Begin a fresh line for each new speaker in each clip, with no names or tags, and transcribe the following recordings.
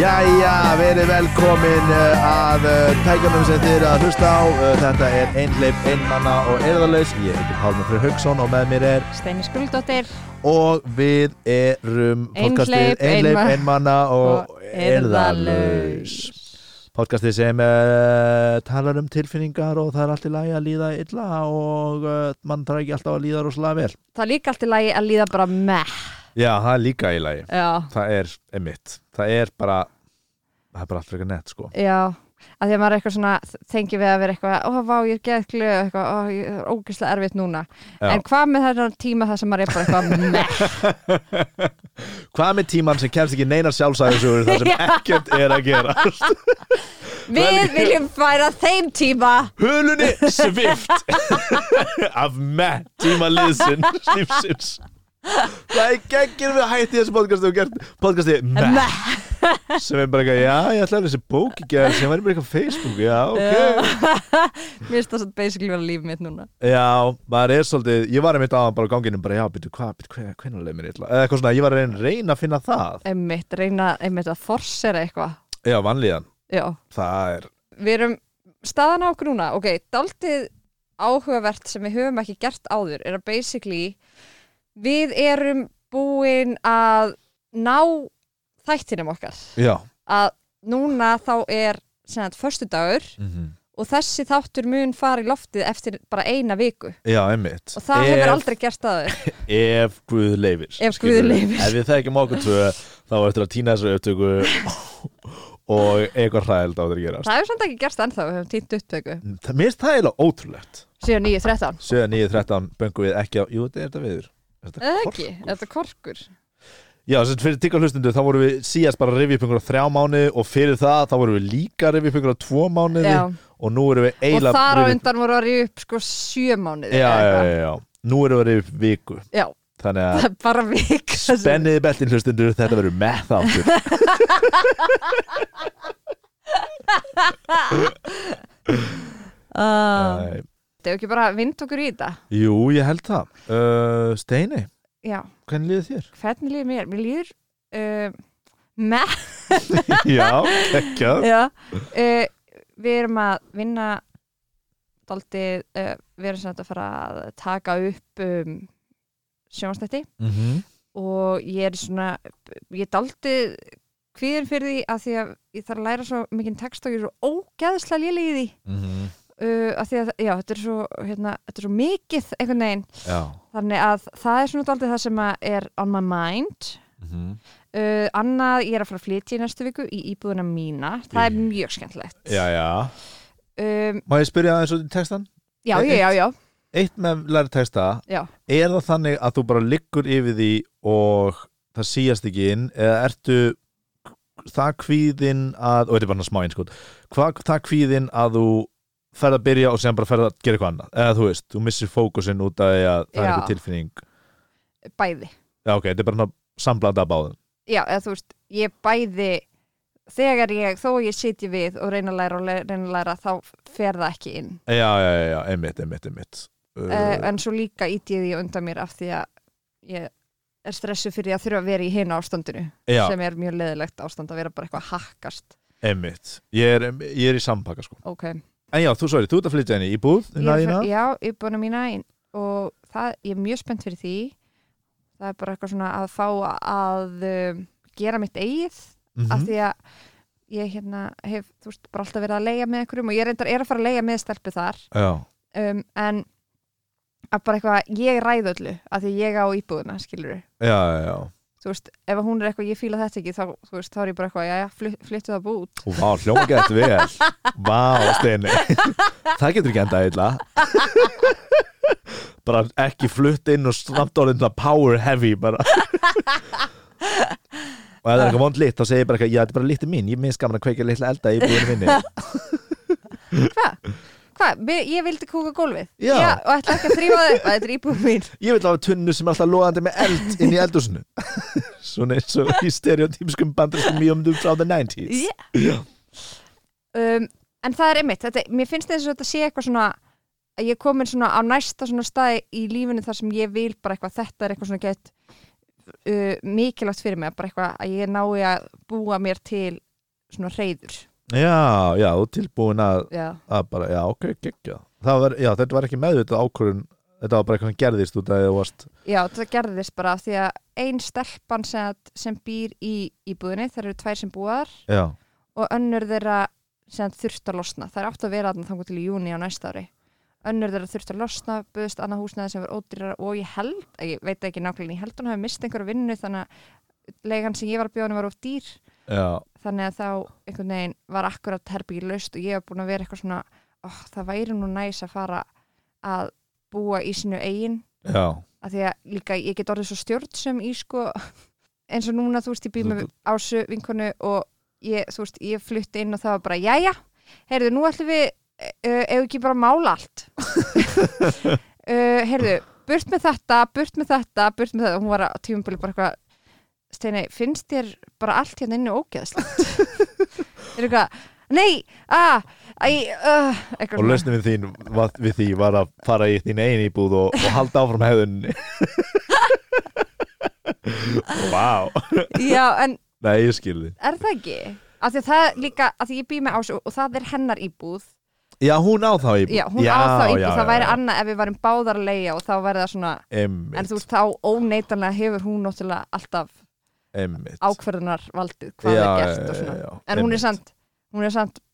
Jæja, verið velkomin eh, að eh, tækjanum sem þið eru að hlusta á Eh, Þetta er Einleif, Einmanna og Erðalaus Ég heiti Pálmi Freyr Haugsson og með mér er
Steini Skruldóttir
Og við erum podcastið
Einhleyp,
Einleif,
Einma-
Einmanna og Erðalaus Podcastið sem uh, talar um tilfinningar og það er allt í lagi að líða illa og uh, mann þarf ekki alltaf að líða rosalega vel
Það er líka allt í lagi að líða bara meh
Já, það er líka í lagi
Já,
Það er emitt Það er bara, það er bara allt frekar nett sko
já að því að maður er eitthvað svona, þengi við að vera eitthvað ó, vá, ég er geðklu, eitthvað, ó, ég er ógeðslega erfitt núna,
Já.
en hvað með þennan tíma það sem maður er bara eitthvað meh
Hvað með tímann sem kemst ekki neinar sjálfsæðisugur þar sem ekkert er að gera
Við viljum færa þeim tíma
Hulunni svift af með tíma liðsinn lífsins Það er geggir við að hætti þessu podcasti og gert podcasti með
meh,
sem er bara eitthvað, já ég ætlaði þessi bók í gerð sem var bara eitthvað á Facebook, já ok
mér finnst það svo basically vera líf mitt núna
Já, maður er svolítið, ég var einmitt aðan bara á ganginum bara já, byrju hvað, byrju hvernig leið mér illa eða eitthvað svona, ég var að reyna, reyna að finna það
einmitt, reyna einmitt að forsera eitthvað
Já, vanlíðan,
já,
það er
við erum staðan á okkur núna, ok, daldið áhugavert sem við höfum ekki gert áður er að basically við erum búin að ná þættinum okkar
Já,
að núna þá er sem sagt föstudagur
Mhm.
og þessi þáttur mun fara í loftið eftir bara eina viku
já, einmitt
og það hefur
Ef-
aldrei gert áður
ef Guð leifir
Ef
skilur
Guð
við.
leyfir.
ef við þekkjum okkur tvö þá er eftir að týna þessu upptöku og eitthvað hræðild á þetta að gerast
það hefur samt ekki gerst ennþá, við höfum týnt upptöku
það, mér finnst það eiginlega ótrúlegt
síðan 9.13
7, 9, 13 böngum við ekki á jú, þetta er þetta viður Þetta
eða
er
ekki,
korkur.
þetta er korkur
Já, sem sagt, fyrir tikka hlustundu þá vorum við síðast bara að rifja upp einhverja þrjá mánu og fyrir það þá vorum við líka að rifja upp einhverja tvo mánu
Já.
og nú erum við
og
eiginlega
þar á
að rifja upp-
undan voru að ríða upp sko sjö mánuði
já, já,
eða eitthvað.
já, já, nú erum við að rifja upp viku
já,
þannig að
það er bara vika sem-
Benniði beltin hlustundur, þetta verður með þáttur
Ah.
Æ,
Þetta er ekki bara vind okkur í þetta
Jú, ég held það uh, Steini,
Já,
hvernig líður þér?
hvernig líður mér? Mér líður uh, með
Já, ekki
Já uh, Við erum að vinna daldið, uh, við erum sem þetta að fara að taka upp um, sjónstætti
mm -hmm.
og ég er svona ég er daldið kvíðin fyrir því að því að ég þarf að læra svo mikinn text og ég er svo ógeðslega léleg í því
mhm.
uh, að því að, já, þetta er svo hérna, þetta er svo mikið einhvern veginn
Já
Þannig að það er svona daldið það sem að er on my mind.
Mhm.
Uh, annað, ég er að fara að flytja í næstu viku í íbúðuna mína. Það er
Í.
mjög skemmtilegt.
Mm. Já, já
Um,
Má ég spyrja aðeins út í textan?
já,
Eh,
já, já, já,
Eitt með læri texta
já.
Er það þannig að þú bara liggur yfir því og það síast ekki inn eða ertu það kvíðin að, og þetta er bara smá einskot hvað það kvíðin að þú ferð að byrja og sem bara ferð að gera eitthvað annað eða þú veist, þú missir fókusinn út af því að það er
Já.
einhver tilfinning
Bæði.
Já, ok, þetta er bara samblanda að báðum
Já, eða þú veist, ég bæði þegar ég, þó ég sitji við og reyna að læra og le- reyna að læra þá fer það ekki inn.
Já, já, já, já, einmitt, einmitt, einmitt Eh,
Uh, en svo líka ítiði ég undan mér af því að ég er stressu fyrir að þurfa að vera í hinu ástandinu
Já,
eh, sem er mjög leðilegt ástand að vera bara eitthvað að hakkast.
einmitt Ég er, ég er í sampaka sko
Ok.
En já, þú, sorry, þú ert að flytja henni í búð
Ég er að
nægina.
fara- Já, íbúðuna mína í- og það, ég er mjög spennt fyrir því það er bara eitthvað svona að fá að um, gera mitt eigið
Mhm.
af því að ég hérna hef, þú veist, bara alltaf verið að leigja með einhverjum og ég reyndar er að fara að leigja með stelpu þar
Já,
um, en að bara eitthvað ég ræð öllu af því ég á íbúðuna, skilur
já, já, já
þú veist, ef að hún er eitthvað, ég fíla þetta ekki þá, þú veist, þá er ég bara eitthvað, já, já, flyttu það bút
Vá, hljóma gett vel Vá, Steini Það getur ekki endað illa Bara ekki flutt inn og stramt orðin það power heavy bara Og ef það er eitthvað vond lit þá segir ég bara eitthvað, já, þetta er bara litið mín, ég er minnst gaman að kveikja litla elda í búinu minni
hvað? Hvað? Mér- Ég vildi kúka gólfið
Já.
og ætla ekki að þrýfa það upp að þetta er íbúð mín
Ég vil hafa tunnu sem er alltaf loðandi með eld inn í eldhúsinu Svona eins og í stereotypiskum bandriskum mjöndum frá the 90s
Yeah. um, en það er einmitt þetta, mér finnst þess að þetta sé eitthvað svona að ég er komin svona á næsta svona staði í lífinu þar sem ég vil bara eitthvað þetta er eitthvað svona gett uh, mikilvægt fyrir mig bara eitthvað að ég nái að búa mér til svona reyður
já, já, og tilbúin að,
já,
að bara, já, ok, gekkja það var, já, þetta var ekki meðvitað ákvörun þetta var bara eitthvað sem gerðist út að það varst
já, það gerðist bara af því að ein stelpan sem, sem býr í íbúðinni, þær eru tvær sem búaðar
já,
og önnur þeirra sem þurft að losna, þær áttu að vera þarna þangu til í júni á næsta ári önnur þeirra þurft að losna, buðst annað húsnaði sem var ódýrara og ég held, ég veit ekki nákvæmlega ég held hún hafi mist einhverju vinnu þannig að leigan sem ég var að bjóðinu var of dýr
já,
þannig að þá einhvern veginn var akkurat herbyggi laust og ég var búin að vera eitthvað svona oh, það væri nú næs að fara að búa í sinu eigin
já
að því að líka ég get orðið svo stjórn sem í sko eins og núna þú veist ég býð með ásu vinkonu og ég, þú veist, ég flutti inn og það var bara jæja, heyrðu, nú ætlum við uh, ef ekki bara að mála allt uh, heyrðu burt með þetta, burt með þetta, burt með þetta og hún var að tímabili bara eitthvað Steini, finnst þér bara allt hérna inni ógeðslegt? er eitthvað, nei, að, æ, uh,
og
eitthvað svona.
lausnum við, þín, var- við því var að fara í þín einu íbúð og, og halda áfram hefðunni Vá
Já, en
Nei, ég skilði
Er það ekki? Af því að það líka, af því ég bý með ás og það er hennar íbúð.
Já, hún á þá íbúð
Já, hún á þá íbúð, það væri annað ef við varum báðar að leia og þá væri það svona,
Emmitt,
en þú veist þá óneitanlega hefur hún náttúrulega alltaf
emmitt
ákverðunar valdið hvað
Já,
er gert og
já,
svona.
já, já,
en
einmitt.
hún er samt, hún er samt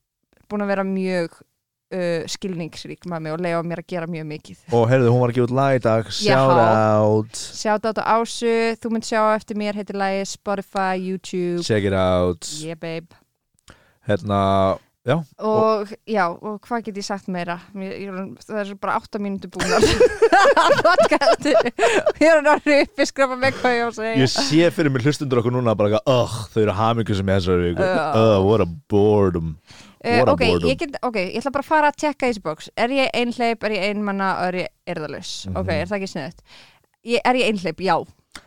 búin að vera mjög uh, skilningsrík með mig og leiða mér að gera mjög mikið.
Og heyrðu, hún var ekki út lag í dag Shout out
Sjáta á ásu, þú mynd sjá eftir mér, heitir lagi Spotify, YouTube,
Check it out
yeah babe.
Hérna, já
og, já, og hvað get ég sagt meira Mér, ég, er- það er bara 8 mínútur búnar podcasti og ég er orðið uppi skrafa með hvað ég á að segja
Ég sé fyrir mér hlustundur okkur núna bara eitthvað, Ugh, þau eru hamingur sem ég þessari viku
Já.
Ugh, what a boredom
Eh,
what a
ok,
boredom.
ég get, ok, ég ætla bara að fara að tjekka þessi bóks er ég einhleip, er ég einmanna og er ég erðalus
Mhm.
ok, er það ekki sniðut ég, er ég einhleip, já,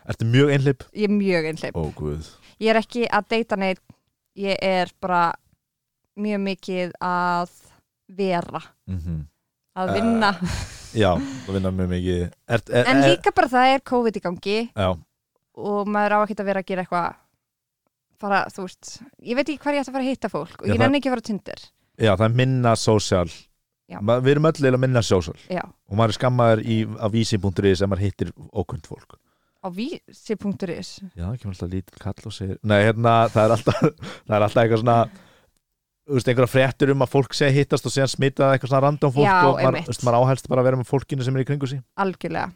Ertu mjög einhleip?
ég er mjög einhleip
Ó, guð
ég er ekki að deyta neitt ég er bara mjög mikið að vera
Mhm.
að
Eh, eh,
vinna,
Já, það vinna mjög mikið er, er,
en
er-
líka bara það er COVID í gangi
Já,
og maður á ekkert að vera að gera eitthvað fara, þú veist, ég veit ekki hvað ég ætti að fara að hitta fólk og
Já,
ég
það-
nenni ekki að fara á Tinder
Já, það er minna sósjál
Já.
Við erum öll eiginlega minna sósjál
já,
og maður er skammaður í, á vísi.ri sem maður hittir ókvönd fólk
á vísi.is
Já, það kemur alltaf lítil kall og segir Nei, hérna, það er alltaf, það er alltaf eitthvað svona Þú veist, einhverja fréttur um að fólk segi hittast og síðan smita eitthvað svona random fólk
Já,
og maður,
einmitt.
þú veist, maður áhelst bara að vera með fólkinu sem er í kringu sí
algjörlega,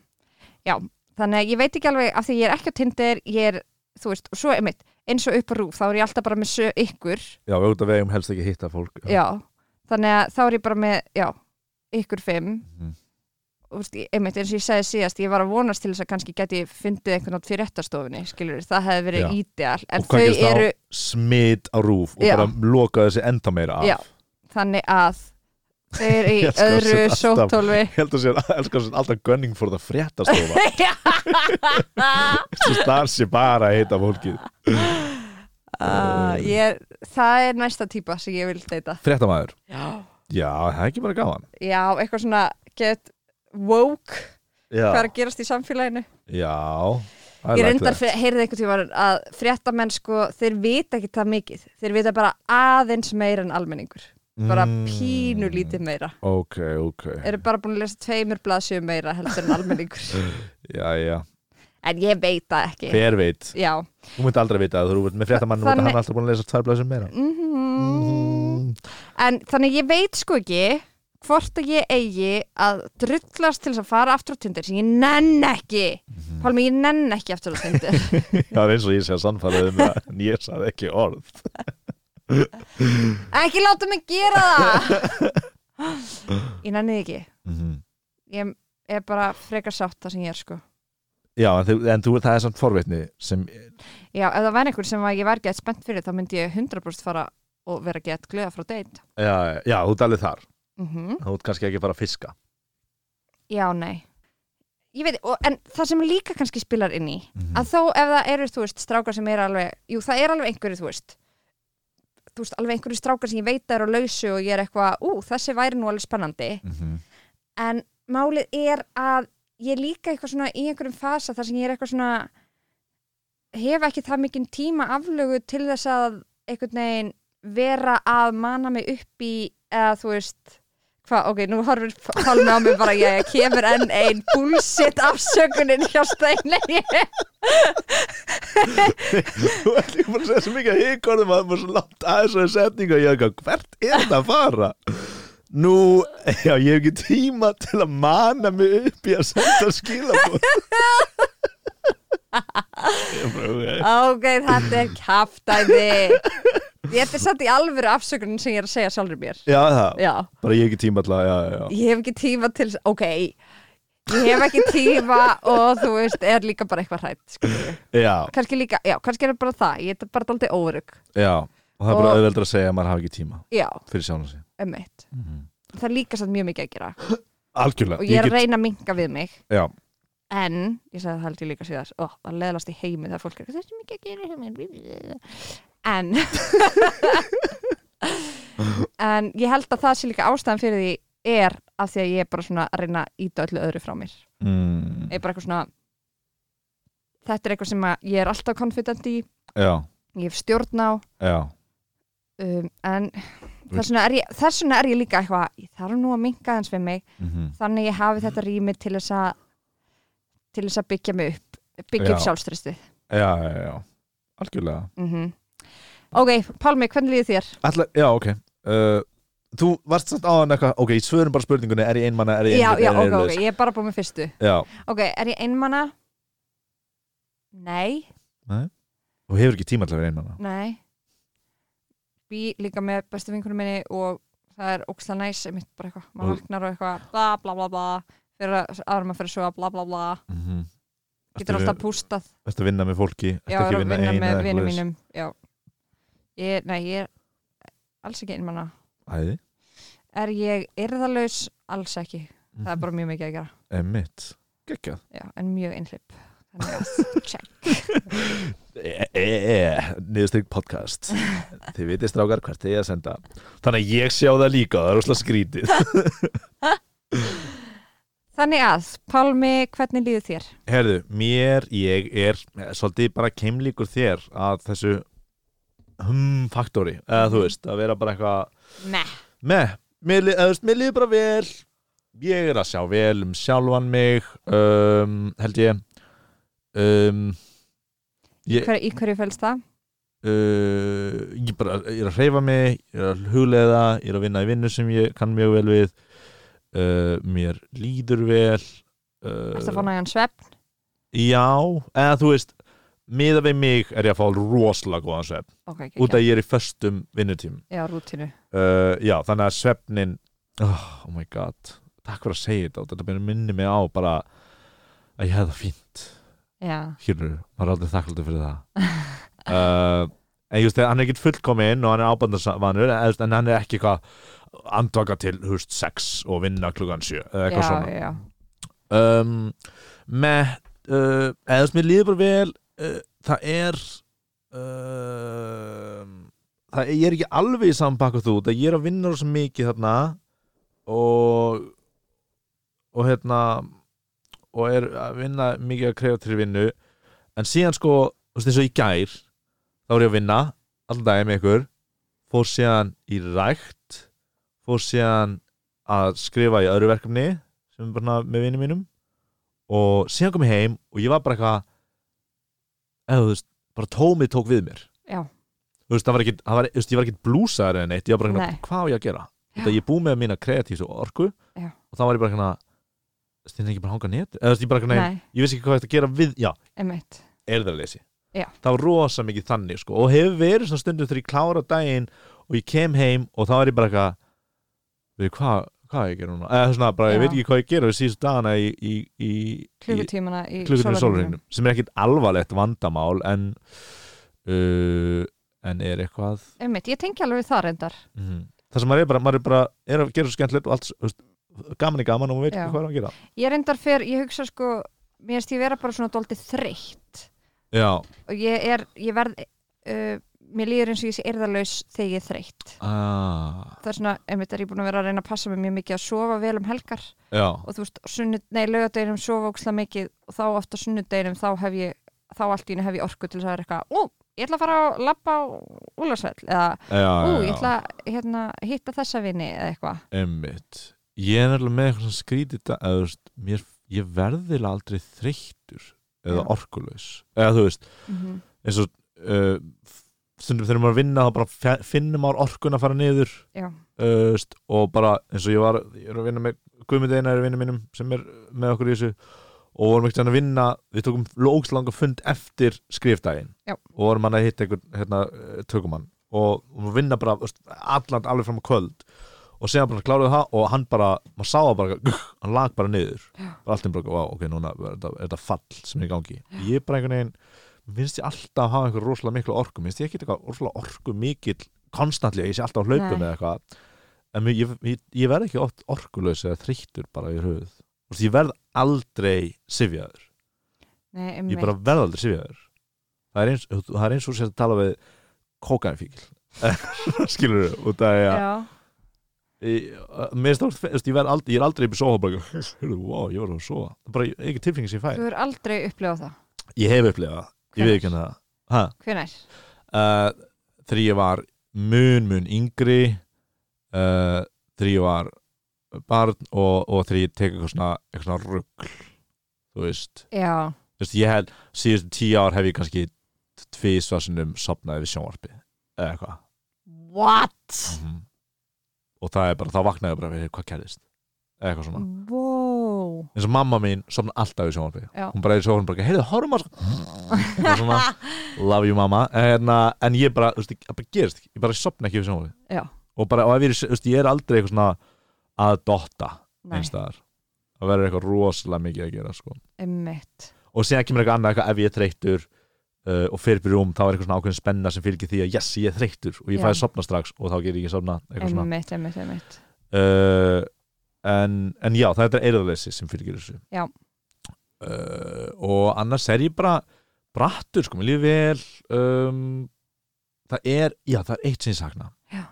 já þannig að ég veit ekki alveg, af því ég er ekki á Tinder ég er, þú veist, og svo einmitt eins og upp á rúf, þá er ég alltaf bara með sö ykkur
Já, við auðvitað vegum helst ekki hitta fólk
já, þannig að þá er ég bara með já, ykkur fimm
Mhm.
og þú veist, ég- einmitt eins og ég sagði síðast ég var að vonast til þess að kannski geti fundið einhvern átt fyrir réttastofunni, skilur það hefði verið
Já.
ídeal, en
Og hvað
þau
gerist þá?
eru
Smit á rúf og
Já.
bara loka þessi enda meira af
Já. þannig að þau eru í
Ég elska
öðru
þessu alltaf.
sóttólfi
Ég held að sér, elskar sér alltaf gunning for the fréttastofa Svo þar sé bara að hitta fólkið
uh, ég, það er næsta típa sem ég vil deyta
Fréttamaður
já,
Já, það er ekki bara gaman
eitthvað svona get woke hvað er
Já,
að gerast í samfélaginu
já það er
ég reyndar
læklegt.
fyrir, heyrði einhvern tíma að fréttamenn sko, þeir vita ekki það mikið þeir vita bara aðeins meira en almenningur bara
Mm.
pínu lítið meira
Ok, ok
eru bara búin að lesa tveimur blaðsjöfum meira heldur en almenningur
Já, já,
en ég veit það ekki
hver veit
já
Þú myndi aldrei vita að þú ert með fréttamann Þannig...
Þannig-
Hann er alltaf búin að lesa tvær blæsum meira
Mhm.
Mm.
En þannig ég veit sko ekki hvort að ég eigi að drullast til þess að fara aftur á Tinder sem ég nenn ekki Pálmi, ég nenn ekki aftur á Tinder
Það er eins og ég sé að sannfæraði um það En ég sagði ekki orð
Ekki láta mig gera það Ég nenni því ekki
Mhm.
Ég er bara frekar sátt það sem ég er sko
Já, en, þú, en þú, það er samt forvitni sem,
Já, ef það væri einhver sem að ég væri gett spennt fyrir þá myndi ég 100% fara og vera gett glöða frá date
já, já, þú dalið þar
mm
Þú ert kannski ekki bara að fiska
Já, nei Ég veit, og, en það sem líka kannski spilar inn í
Mhm.
að þó ef það eru, þú veist, strákar sem eru alveg, jú, það er alveg einhverju, þú veist þú veist, alveg einhverju strákar sem ég veit að eru á lausu og ég er eitthvað, ú, þessi væri nú alveg spennandi
-hmm.
en málið er að ég er líka eitthvað svona í einhverjum fasa þar sem ég er eitthvað svona hef ekki það mikinn tíma aflögu til þess að einhvern veginn vera að mana mig upp í eða þú veist hvað, ok, nú horfir Pálmi á mig bara ég kemur enn ein bullshit afsökunin hjá Steinlein
Þú ert líka bara að segja svo mikið að hikorðum að það var svo langt aðeins og setningu og ég ekki, hvert er þetta að fara? Nú, já, ég hef ekki tíma til að mana mig upp í að senda skilabóð. Ég bara, ok.
ok, þetta er kæftæði þetta er satt í alvöru afsökunin sem ég er að segja sjálfur mér
Já, það,
já,
bara ég hef ekki tíma til að, já, já, já.
ég hef ekki tíma til ok, ég hef ekki tíma og þú veist, er líka bara eitthvað hrætt skilurðu.
Já,
kannski líka, já, kannski er það bara það ég er bara daldið óörug
já, og það er bara
Og-
auðveldur að segja að maður hafi ekki tíma
já,
fyrir sjálf sig.
um eitt það er líka satt mjög mikið að gera
Algjörlega.
og ég er
get-
að reyna að minka við mig
Já,
en, ég sagði það held ég líka síðar ó, það leðlast í heimi þegar fólk er það er svo mikið að gera hjá mér en en ég held að það sé líka ástæðan fyrir því er af því að ég er bara svona að reyna að íta öllu öðru frá mér
mm,
ég er bara eitthvað svona þetta er eitthvað sem að ég er alltaf confident í
já,
ég hef stjórn á
já,
um, en þess vegna er ég, þess vegna er ég líka eitthvað ég þarf nú að minka þess við mig
mhm,
þannig ég hafi þetta rými til þess að til þess að byggja mig upp byggja upp
Já.
sjálfströstið
já, já, já, algjörlega.
mm Ok, Pálmi, hvernig líður þér?
Alla, já, ok uh, Þú varst samt áðan eitthvað Ok, ég svörum bara spurningunni, er ég einmanna, er ég
Já, já, ok, ok,
einmanna,
ég er bara búin með fyrstu
Já,
Ok, er ég einmana? Nei,
þú hefur ekki tíma til að vera einmanna
nei Bý líka með bestu vinkunum minni og það er óksla næs mitt bara eitthvað, maður
Og-
vaknar og eitthvað bla bla bla bla fyrir að árum að fyrir að svo bla bla bla
mm -hmm.
getur alltaf pústað
að vinna með fólki ertu
Já, er
ekki
að vinna
ein eða
með
eitthvað
vinum
svoleiðis?
mínum Já, ég, nei, ég er alls ekki einmana
Æði,
Er ég yrðalaus? Alls ekki. Það er bara mjög mikið að gera.
emmitt Gekka
Já, en mjög einhlipp. Þannig að check.
e e e Niðurstrykk podcast Þið vitið strákar hvert þið er að senda Þannig að ég sjá það líka, það er úslega skrítið
Þannig að, Pálmi, hvernig líður þér?
Herðu, mér, ég er eh, svolítið bara keimlíkur þér að þessu hmm faktori, eða þú veist, að vera bara eitthvað
Nei.
Nei, mér, lið- eða, þú veist, mér líður bara vel Ég er að sjá vel um sjálfan mig um, Held ég um, ég,
Hver, í hverju fælst það?
uh, ég, bara, ég er að hreyfa mig Ég er að hugleiða Ég er að vinna í vinnu sem ég kann mjög vel við uh, Mér líður vel uh,
Ertu að fá nægan svepp?
Já, eða þú veist Miða við mig er ég að fá rosalega góðan svepp
Ok, ekki.
Út að ég er í föstum vinnutímum
Já, rútinu.
uh, já, þannig að svefnin oh, oh my god, takk fyrir að segja þetta og þetta byrja að minni mig á bara að ég hefði það fínt
Já.
Hjörnur, maður er aldrei þakkláttur fyrir það uh, en ég veist, hann er ekkit fullkominn og hann er ábandarvanur en, en hann er ekki eitthvað andvaka til húst 6 og vinna klukkan 7 eða
Já,
eitthvað svona
já.
um, með, uh, eða þess mér líður bara vel uh, það er uh, það ég er ekki alveg í saman pakka þú það ég er að vinna rosa mikið þarna og og hérna og er að vinna mikið að krefa til vinnu en síðan sko, þú veist eins og í gær þá er ég að vinna allan daginn með ykkur fór síðan í rækt fór síðan að skrifa í öðru verkefni sem er bara með vinnum mínum og síðan kom ég heim og ég var bara eitthvað eða þú veist, bara tómið tók við mér
Já.
þú veist, það var ekki, það var, þú veist, ég var ekki blúsaður en eitt, ég var bara
Nei.
eitthvað, hvað á ég að gera þetta ég er búið með mína kreatífs og orku
Já.
og þá var ég bara eitthvað stinn ekki bara að hanga neti eða þú veist, ég bara eitthvað, nei, ég veist ekki hvað þetta að gera við já,
emitt.
er það að lesi
Já.
það var rosa mikið þannig sko og hefur verið svona stundum þegar ég klára daginn og ég kem heim og þá er ég bara eitthvað við hvað hvað á ég að gera núna eða svona bara
Já.
ég veit ekki hvað ég að gera við síðust dagana í, í, í, í
Klukutímana í
klukkutíma
sólarhringnum.
sólurinnum sem er ekkit alvarlegt vandamál en uh, en er eitthvað
Einmitt, ég tengi alveg við það reyndar.
mm. það sem maður er bara maður er bara er að gera svo skemmtilegt og allt þú veist, gaman er gaman og maður veit
Já.
ekki hvað er að gera
Ég reyndar fyrir, ég hugsa sko, mér finnst ég vera bara svona dóltið þreytt
já
og ég er, ég verð, uh, mér líður eins og ég sé yrðalaus þegar ég er þreytt.
ah.
það er svona, einmitt er ég búin að vera að reyna að passa mig mjög mikið að sofa vel um helgar
já
og þú veist, sunnud, nei, laugadeginum sofa ókslega mikið og þá oft á sunnudeginum þá hef ég, þá allt í henni hef ég orku til þess að það er eitthvað, ú, ég ætla að fara að labba og úlarsvell eða ú,
já,
ég ætla að hérna, hitta þessa vini eða eitthvað
Einmitt. Ég er nefnilega með eitthvað skrítið eða, þú veist, mér, ég verðilega aldrei þreyttur eða
Já.
orkulaus eða þú veist,
mm -hmm.
eins og uh, stundum þegar maður er að vinna þá bara fe- finnur maður orkun að fara niður uh,
Já,
þú veist, og bara eins og ég var ég er að vinna með Guðmund Einar er vinnu mínum sem er með okkur í þessu og vorum ekkert að vinna, við tókum lókslanga fund eftir skrifdægin
Já.
og vorum hann að hitta einhvern hérna, eh, tökumann og og við vinna bara þú veist, allan alveg fram á kvöld og segja bara kláruðu það og hann bara, maður sá það bara gugg, hann lag bara niður
Já.
bara allt einn bara, wow, ok, núna er þetta, er þetta fall sem er í gangi, ég bara einhvern veginn mér finnst ég alltaf að hafa einhver rosalega miklu orku Mér finnst ég ekki eitthvað rosalega orku mikill konstantlega, ég sé alltaf á hlaupum
Nei.
eða eitthvað en mér, ég, ég, ég verð ekki oft orkulaus eða þreyttur bara í höfuð Þú veist, ég verð aldrei sifjaður
nei,
ég bara verð aldrei sifjaður það er eins, það er eins og sér að tala við kókainfíkil skilur þú, út af því að
já.
ég, mér stórt, ég, verð aldrei, ég er aldrei upp í sofa bara, heyrðu, wow, ég var að sofa það er bara ekki tilfengi sem ég
Þú
fæ
er aldrei upplifað það
ég hef upplifað, það, ég veit
Hvenær?
ekki hann það ha?
Hvenær?
uh, þegar ég var mun, mun yngri uh, þegar ég var barn og, og þegar ég tek eitthvað svona, eitthvað svona rugl þú veist,
Já,
þú veist ég held síðustu tíu ár hef ég kannski tvísvarsinum sopnaði við sjónvarpi eða eitthvað
what?
og það er bara, þá vaknaði ég bara við hvað gerðist eða eitthvað
Mm.
svona
Wow
eins og mamma mín sopna alltaf í sjónvarpi
Já.
hún bara er í sjónvarpi bara, heyrðu, horfum að Eitthvað svona, love you mamma en, en ég bara, þú veist, ég bara gerist ekki ég bara sopna ekki við sjónvarpi
Já,
og bara, og ef ég, er- þú veist, ég er aldrei eitthvað svona að dotta
nei,
eins staðar það verður eitthvað rosalega mikið að gera sko.
emmitt
og síðan kemur eitthvað annað, eitthvað ef ég er þreyttur uh, og fyrir byrjum, þá er eitthvað svona ákveðin spenna sem fylgir því að yes, ég er þreyttur og ég
Já.
fæði sopna strax og þá ger ég ekki sopna eitthvað svona
Emmitt, emmitt, emmitt
uh, en, en já, það er eirðarleysi sem fylgir þessu
Já.
Uh, og annars er ég bara brattur, sko, mér líður vel um, það er já, það er eitt sem ég sakna
Já.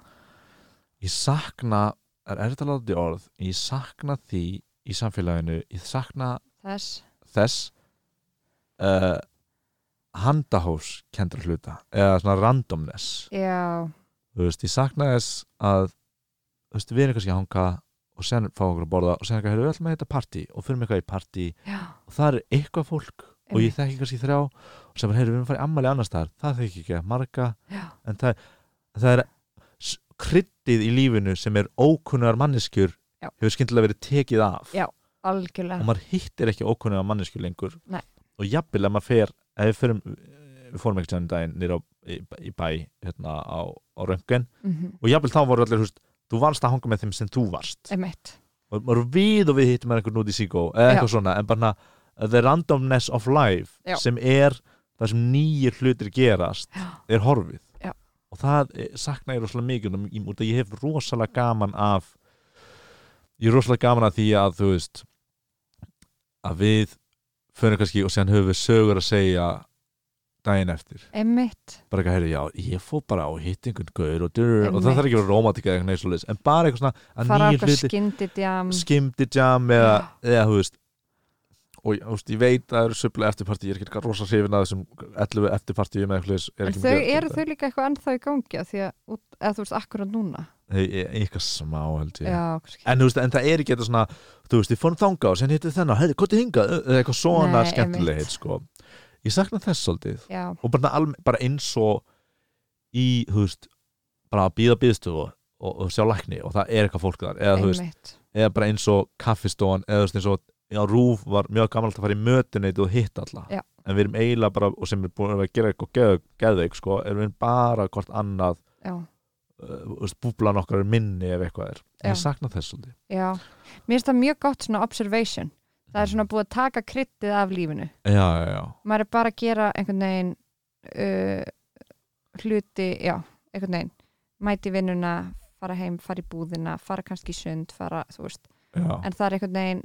ég sakna er erfitt að láta þetta í orð, ég sakna því í samfélaginu, ég sakna
Þess,
þess uh, handahófs kendra hluta, eða svona randomness
já,
þú veist, ég sakna þess að þú veist, við erum kannski að hanga og sen fá okkur að borða og sen eitthvað, heyrðu, við ætlum að heita partí og fyrir mig eitthvað í partí
já,
og það er eitthvað fólk og ég þekki kannski þrjá og sem bara, heyrðu, við erum að fara í ammali annars staðar það þekki ekki að marga
já
en það, það er s- kryddið í lífinu sem er ókunnar manneskjur
Já.
hefur skyndilega verið tekið af
Já.
og
Algjörlega,
maður hittir ekki ókunnar manneskjur lengur
Nei.
og jafnvel að maður fer ef við, fyrum, við fórum ekki tjóðan daginn nýra í, í bæ hérna, á, á röngen
Mhm.
og jafnvel þá voru allir, þú veist, þú varst að hanga með þeim sem þú varst
emmitt
og maður við og við hittum með einhvern út í síkó eða eitthvað svona, en bara the randomness of life
Já.
sem er það sem nýjir hlutir gerast
Já.
er horfið
Já.
og það eh, sakna ég rosalega mikið um- í- út að ég hef rosalega gaman af ég er rosalega gaman af því að þú veist að við förum kannski og séðan höfum við sögur að segja daginn eftir
Emmitt,
bara eitthvað, heyrðu, já, ég fór bara og hitt einhvern gaur og dyrr og það
Einmitt.
þarf ekki að vera romantika eða eitthvað neitt svoleiðis, en bara eitthvað svona
fara
að
á
nýjir
okkar
hluti,
skyndidjam
skimdijam eða, eða, þú veist og ég, þú veist, ég veit að það eru söfla eftirparti ég er ekki eitthvað rosa hrifin að þessum 11 eftirparti með eitthvað svoleiðis, er
En
ekki
þau,
mikið eftir
eru
þetta.
þau líka eitthvað ennþá í gangi af því að, út- eða þú veist akkurat núna
Nei, ég- e, eitthvað smá held ég
Já, kannski
en, þú veist, en það er ekki eitthvað svona þú veist, ég fórum þanga og sen hittu þennan heyrðu, hvað þið hingað, eða eitthvað svona
Nei,
skemmtilegheit,
einmitt.
sko. Ég sakna þess svolítið.
Já,
og bara, alme, bara eins og í, þú veist bara að býða býðstöfu og, og sjá lækni og það er eitthvað fólk þar eða, þú veist,
emmitt
eða bara eins og kaffistofan eða þú veist, eins og já, rúf var mjög gammal að fara í mötuneytu og hitta alla
Já.
en við erum eiginlega bara, og sem er búin að vera að gera eitthvað geð, geðveik, sko, erum við bara hvort annað,
Já,
uh, þú veist, búblan okkar er minni ef eitthvað er,
Já.
ég sakna þess svolítið
já Mér finnst það mjög gott svona observation Það er svona búið að taka kryttið af lífinu
já, já, já,
maður er bara að gera einhvern veginn uh, hluti, já, einhvern veginn mæti vinnuna, fara heim, fara í búðina fara kannski í sund, fara, þú veist
já.
en það er einhvern veginn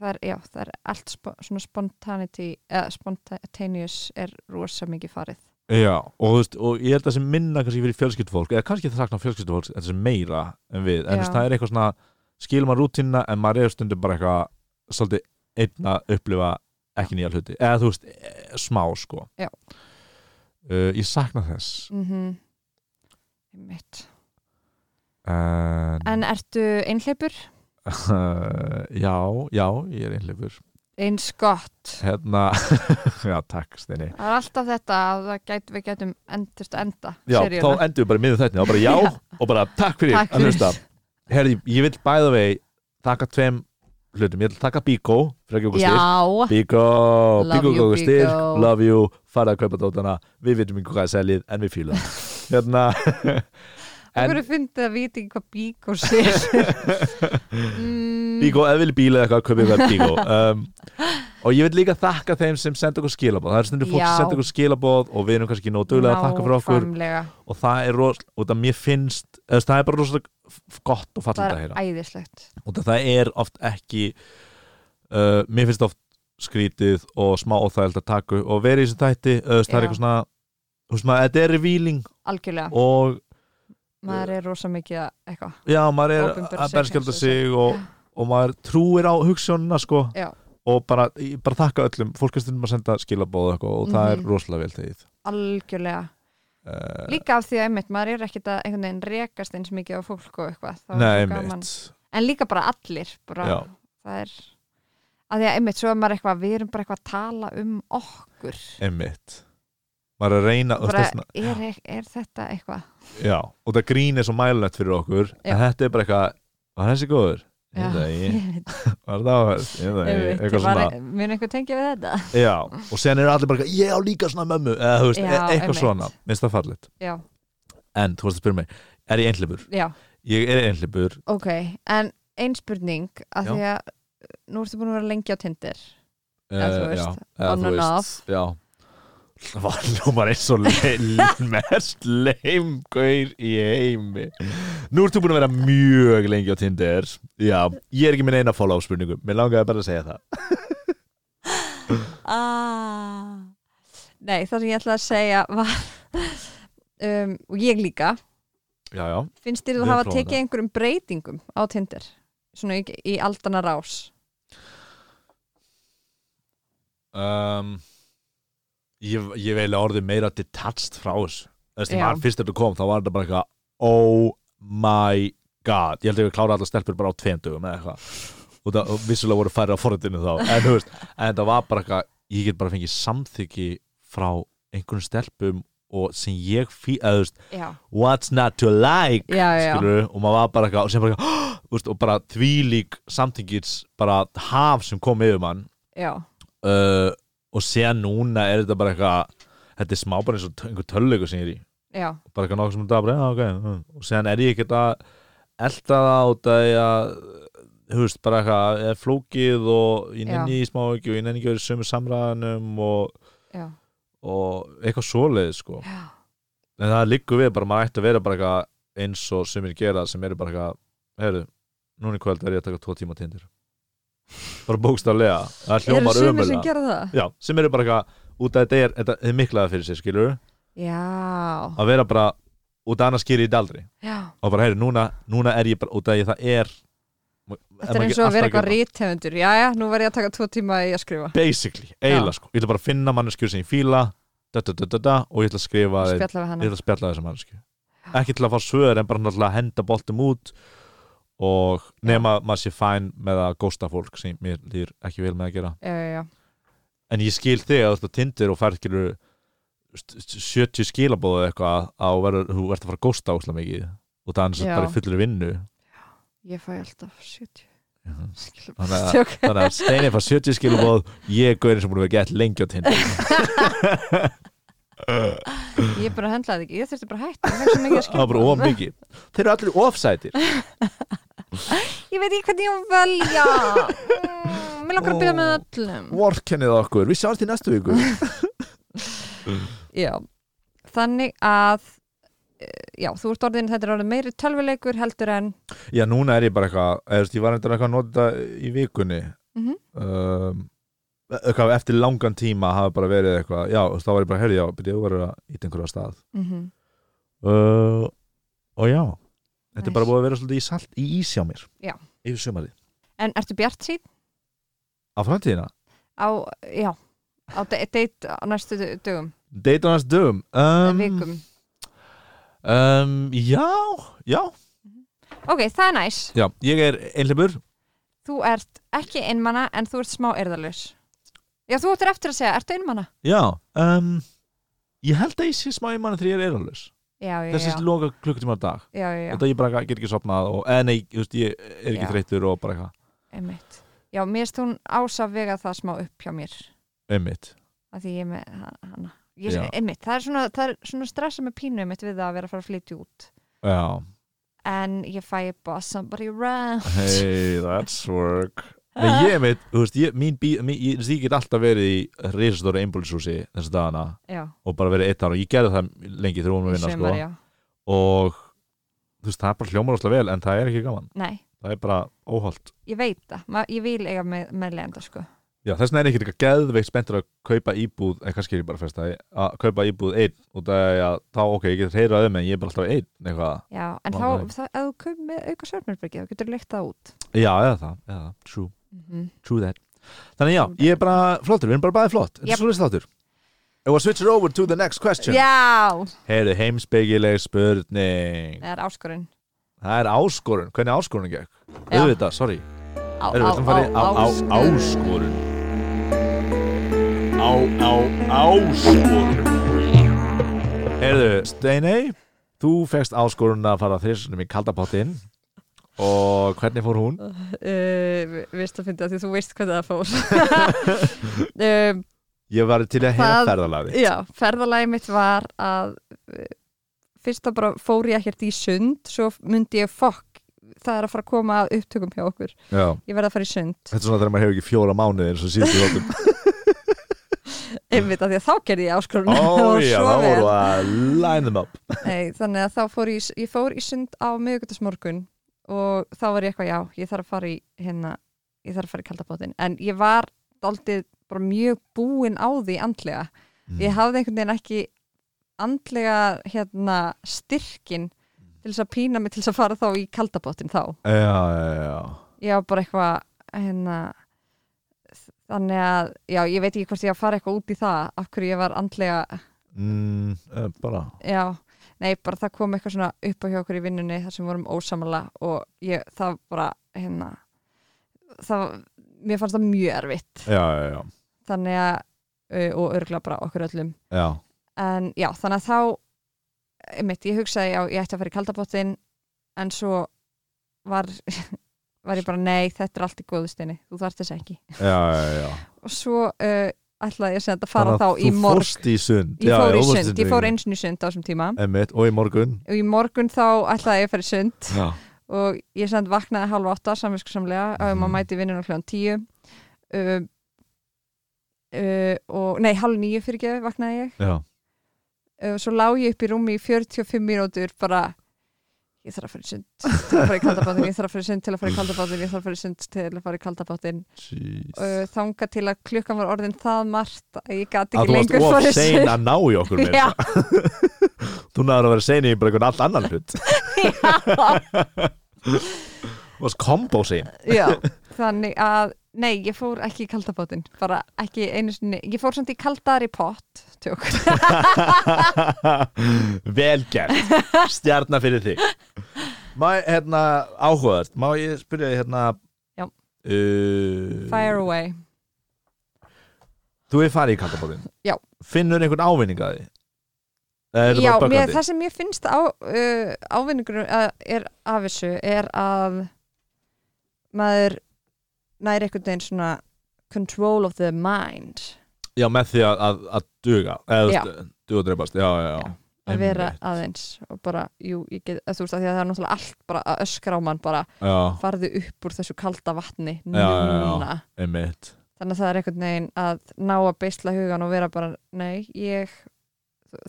það er, já, það er allt spo, svona spontanity eða spontaneous er rosa mikið farið
Já, og, þú veist, og ég held að það sem minna kannski fyrir fjölskyldufólk, eða kannski það sakna fjölskyldufólk þetta sem meira en við, en þú veist,
Já.
það er eitthvað svona skilum að rútina en maður er stundum bara eitthvað svolítið einn að upplifa ekki nýja hluti, eða þú veist e- smá eh, sko
Já.
uh, ég sakna þess
mm Einmitt.
en,
En ertu einhleipur?
já, já, ég er einhleifur
Eins gott.
hérna, já, takk Steini
Það er alltaf þetta að það gæt, við gætum endist að enda.
já,
seríuna.
þá endum við bara miður þetta og bara já, og bara takk fyrir
Takk
að
fyrir.
hlusta. Herði, ég vil bæða vei taka tveim hlutum, ég vil taka Bíkó fyrir að gefa okkur styrk
Já,
Bíkó,
Love
Bíkó
you,
góðu styrk
Byggó.
love you, fara að kaupa dótana við vitum ekki hvað er selið, en við fýlum það. hérna,
en...
en
hverju fyndið að vita ekki hvað bíkó sér? mm,
Bíkó, ef vilja bíla eða eitthvað, kaupið það Bíkó um, og ég vil líka þakka þeim sem senda okkur skilabóð, það er stundur fólk
Já.
sem senda okkur skilabóð og við erum kannski nóg duglega að þakka fyrir okkur
nákvæmlega.
og það er rosalega, og það mér finnst eða, það er bara rosalega f- gott og
Það
fallið að
er
heyra,
æðislegt.
og það- það er oft ekki uh, mér finnst oft skrítið og smá óþægild að taka og verið í þessum þætti, eða, það er
Já.
eitthvað svona þú veist maður, þetta er revíling
Algjörlega.
og
Maður er rosa mikið að eitthvað.
já, maður er
Opinbera sig,
að berskjölda
sjálfsögðu
sig og, og maður trúir á hugsunna sko,
Já.
og bara, ég bara þakka öllum fólk er stundum að senda skilabóð og, eitthvað, og það
Mhm.
er rosalega vel þegið
Algjörlega.
uh,
Líka af því að einmitt, maður er ekkit að einhvern veginn rekast eins mikið á fólk og eitthvað. þá er
Nei,
svo gaman.
mitt
En líka bara allir. Bara,
Já.
Það er... Að því að einmitt, svo er maður eitthvað, við erum bara eitthvað að tala um okkur.
einmitt maður er að reyna og
bara,
þess vegna-
er, ek- er þetta eitthvað?
Já, og það grín er svo mælunett fyrir okkur
Já.
en þetta er bara eitthvað, var þessi góður?
Já,
Ég veit það
ég
ekki,
veit,
var það áhverð? Ég veit það
ég
ekki,
veit,
eitthvað
var-
svona
mun einhver tengja við þetta?
Já, og sen eru allir bara eitthvað, ég á líka svona mömmu eða þú veist,
Já,
e- eitthvað
einmitt.
svona minnst það fallit,
Já,
en þú veist að spyrja mig er ég einhleipur?
já,
Ég er einhleipur
ok en ein spurning, að
Já.
því að uh, nú ertu búin að vera lengi á Tinder
eh,
Eða þú veist,
já, eða
on
þú
and
veist,
off.
Já Það var ljómar eins og le le- mest leimgauð í heimi Nú ertu búin að vera mjög lengi á Tinder Já, ég er ekki minn eina follow spurningu Mér langaði bara að segja það
ah. Nei, það sem ég ætla að segja var um, og ég líka
Já, já
finnst þér
Við
þú hafa
prófum
tekið
það.
einhverjum breytingum á Tinder svona í, í aldana rás
um, ég, ég veil orðið meira detached frá þessu þess að
Já.
maður fyrst þetta kom þá var þetta bara eitthvað oh my god ég held að ég klára allar stelpur bara á tveimtugum eða eitthvað og það og vissulega voru færri á forritinu þá en, þú veist, en það var bara eitthvað ég get bara fengið samþyggi frá einhvern stelpum og sem ég fí, eða, þú veist,
Já,
what's not to like
já, já,
skilur, og maður var bara eitthvað og, sem bara, eitthvað, þú veist, og bara þvílík samþyggis bara haf sem kom yfir mann
já.
uh, og séðan núna er þetta bara eitthvað þetta er smá bara eins og tö- einhver tölleiku sem ég er í
já.
bara eitthvað nokkuð sem þetta bara, já, ok mm. og séðan er ég ekkert að elta það út að ég að þú veist, bara eitthvað, er flókið og ég nenni í smá ekki og ég nenni ekki að vera í sömu samræðanum og,
já.
og eitthvað svoleið sko.
já.
en það liggur við bara, maður ætti að vera bara eitthvað eins og sömur gera sem eru bara eitthvað heyrðu, núna í kvöld er ég að taka tvo tíma tindir bara bókstaflega það
Eru
hljómar
sumir sem
ömulega
gera það?
Já, sem eru bara eitthvað út að þetta er, þetta er miklaða fyrir sig, skilur
Já,
að vera bara, út að annars skýri ég þetta aldrei
já
og bara, heyri, núna, núna er ég bara út að ég, það er
Þetta er eins og að vera eitthvað ríthefendur Jæja, nú verð ég að taka tvo tíma í að skrifa
Basically, eiginlega sko, ég ætla bara að finna manneskjur sem ég fíla da, da, da, da, da, og ég ætla að skrifa
og
þeim-
spjalla
ég
um við hana
ætla að spjalla þessar manneskju ekki til að fá svör en bara náttúrulega að henda boltum út og nema maður sé fæn með að gósta fólk sem mér líður ekki vel með að gera
Já, já, já,
en ég skil þig að þú ert á Tinder og færð skilur 70 skilabóðu eitthvað að verður, þú ert að fara að gósta óslega mikið og það er eins og
Já.
bara í fullri vinnu
ég fæ alltaf 70
Mhm.
Skilum
Þannig að-
Tjók.
þannig að Steini fær 70 skilabóð ég er gaurinn sem búin að vera gett lengi á Tinder
Ég er bara að hendla það ekki, ég þurfti bara að hætta Ég, fæ
það
svo
er bara of
mikið að
mikið þeir eru allir offsætir
skilabóð. ég veit ekki hvernig ég á að velja Mm, Mér langar að byrja með
Ó.
öllum
vorkennið okkur, við sjáumst í næstu viku
Já, þannig að eh, Já, þú ert orðin, þetta er orðin meiri tölvuleikur heldur en
já núna er ég bara eitthvað, eða, þú veist, ég var eitthvað að nota í vikunni
Mhm.
um, eitthvað eftir langan tíma hafa bara verið eitthvað, já þú veist, þá var ég bara, herri já, byrja þú verður að íta einhverja af stað
mhm,
uh, og já þetta
Nice.
er bara búið að vera svolítið í salt í ís hjá mér
Já.
yfir sömarið
En ertu bjart sín?
á framtíðina
Á, já, á de- date á næstu dögum
date á næstu dögum
um,
um,
Vikum
um, Já, já,
ok, það er næs
já Ég er einhleipur
þú ert ekki einmana en þú ert smá erðalus já, þú ættir eftir að segja, ertu einmana?
Já, um, ég held að ég sé smá einmann þegar ég er eiralus
já, já, já,
Þessi loka klukkutíma á dag
já, já, já.
Þetta ég bara get ekki sopnað og, eða nei, þú veist, ég er ekki
Já.
þreyttur og bara eitthvað
einmitt já, mér erst hún ása vega það smá upp hjá mér
Einmitt
að því ég er með ha- hana ég,
Já.
einmitt, það er svona, það er svona stressa með pínu einmitt við það að vera að fara að flytja út
Já,
en ég fæ bara somebody around
hey, that's work Nei, ég veit, þú veist, ég, mín bí, mín, ég, þú veist, ég get alltaf verið í reisastóra einbúlisúsi þessu dagana
já,
og bara verið eitt ára og ég gerði það lengi þegar hún
í
var að vinna,
sumar, já,
sko og þú veist, það er bara hljómar óslega vel en það er ekki gaman,
nei
það er bara óholt
ég veit það, Ma, ég vil eiga með, með lenda sko,
Já, þess vegna er ég ekki eitthvað geðveikt spenntur að kaupa íbúð, en kannski er ég bara fyrst að að kaupa íbúð einn út af því að þá, ok, ég get reyður að um en ég er bara alltaf einn eitthvað,
já,
Vá,
en þá,
nei.
þá ef þú kaupir með auka svörnurbyrgi, þá getur leikt það út
já, eða það, eða það, true,
mm
true that Þannig já, ég er bara flottur, við erum bara bæði flott, þetta
Yep.
er svo þáttur And we'll switch it over to the next question
já,
Heyrðu, heimsbyggileg spurning
það er áskorun
Það er áskorun, hvernig áskorun gekk?
Já.
Auðvitað, sorry
á,
Erum við ætlum að fara í á- á- áskorun Á, á, áskorun Heyrðu, Steinei Þú fegst áskorun að fara þrissunum í kaldapottinn Og hvernig fór hún?
uh, veist að fyndi að því þú veist hvað það fór um,
Ég var til að heyra
Það-
ferðalagi
já, ferðalagi mitt var að uh, fyrst þá bara fór ég ekkert í sund svo myndi ég fokk það er að fara að koma að upptökum hjá okkur
Já
ég verði að fara í sund
Þetta er svona þegar maður hefur ekki fjóra mánuði eins og síðust í hóttum
einmitt að því að þá gerði ég áskrunum
Ó já, það voru að line them up
Nei, þannig að þá fór ég, í- ég fór í sund á miðugutasmorgun og þá var ég eitthvað, já, ég þarf að fara í hérna, ég þarf að fara í kaldabótin en ég var daldið bara mjög búin á því andlega
Mm.
ég hafði einhvern veginn ekki andlega hérna styrkin til þess að pína mig til þess að fara þá í kaldabótin þá
Já, Mm. já, já
ég var bara eitthvað hérna þannig að, já, ég veit ekki hvort ég á að fara eitthvað út í það af hverju ég var andlega
mm, eh, Bara
Já, nei, bara það kom eitthvað svona upp á hjá okkur í vinnunni þar sem vorum ósamala og ég, það bara, hérna, það, mér fannst það mjög erfitt.
Já, já, já,
Þannig að, uh, og örgla bara okkur öllum.
já.
En já, þannig að þá, einmitt, ég hugsaði, já, ég ætti að fara í kaldabottin, en svo var, var ég bara, nei, þetta er allt í góðustinni, þú þarft þess ekki.
já, já, já.
Og svo uh, ætlaði ég sem þetta að fara
Þannig að
þá í
Þú
morg.
fórst í sund
Ég
Já, já,
fór í
þú fórst
sund, ég fór
sund.
eins og í sund á þessum tíma
Einmitt, Og í morgun
og í morgun þá ætlaði ég að fara í sund
Já,
og ég sem sagt vaknaði halv átta samvinskusamlega mm. um
Mhm.
að mæti vinnun á hljóðan tíu uh, uh, og nei, halv nýju fyrir ekki vaknaði ég
já,
uh, svo lá ég upp í rúmi í 45 mínútur bara ég þarf að fara í sund til að fara í kaldabáttin, ég þarf að fara í sund til að fara í kaldabáttin ég þarf að fara í sund til að fara í kaldabáttin
jeez
uh, þanga til að klukkan var orðin það margt að ég gat
Að þú
ekki
varst
lengur
of
farið
sein að ná í okkur með
Já,
þetta. Þú náður að vera sein í bara einhvern allt annan hlut Þú varst kombo sein
já, þannig að nei, ég fór ekki í kaldabáttin bara ekki einu sinni, ég fór samt í kaldari pott tjók
Vel gert Stjarnar fyrir þig Má, hérna, áhugaðast Má ég spyrja þig hérna
Já.
uh,
Fire away.
Þú er farið í kakkabóðin
Já.
Finnur einhvern ávinning að því? Eða er þetta
Já,
bara
mér,
böggandi?
það sem ég finnst á, uh, ávinningur uh, er af þessu er að maður næri einhvern veginn svona control of the mind
Já, með því að, að, að duga eða,
Já.
þú veist, duga og dreipast já, já, já.
að vera
Einmitt.
aðeins og bara, jú, ég get, að þú veist að því að það er náttúrulega allt bara að öskra á mann bara
já,
farðu upp úr þessu kalda vatni núna
já, já. einmitt
þannig að það er einhvern veginn að ná að beisla hugan og vera bara, nei, ég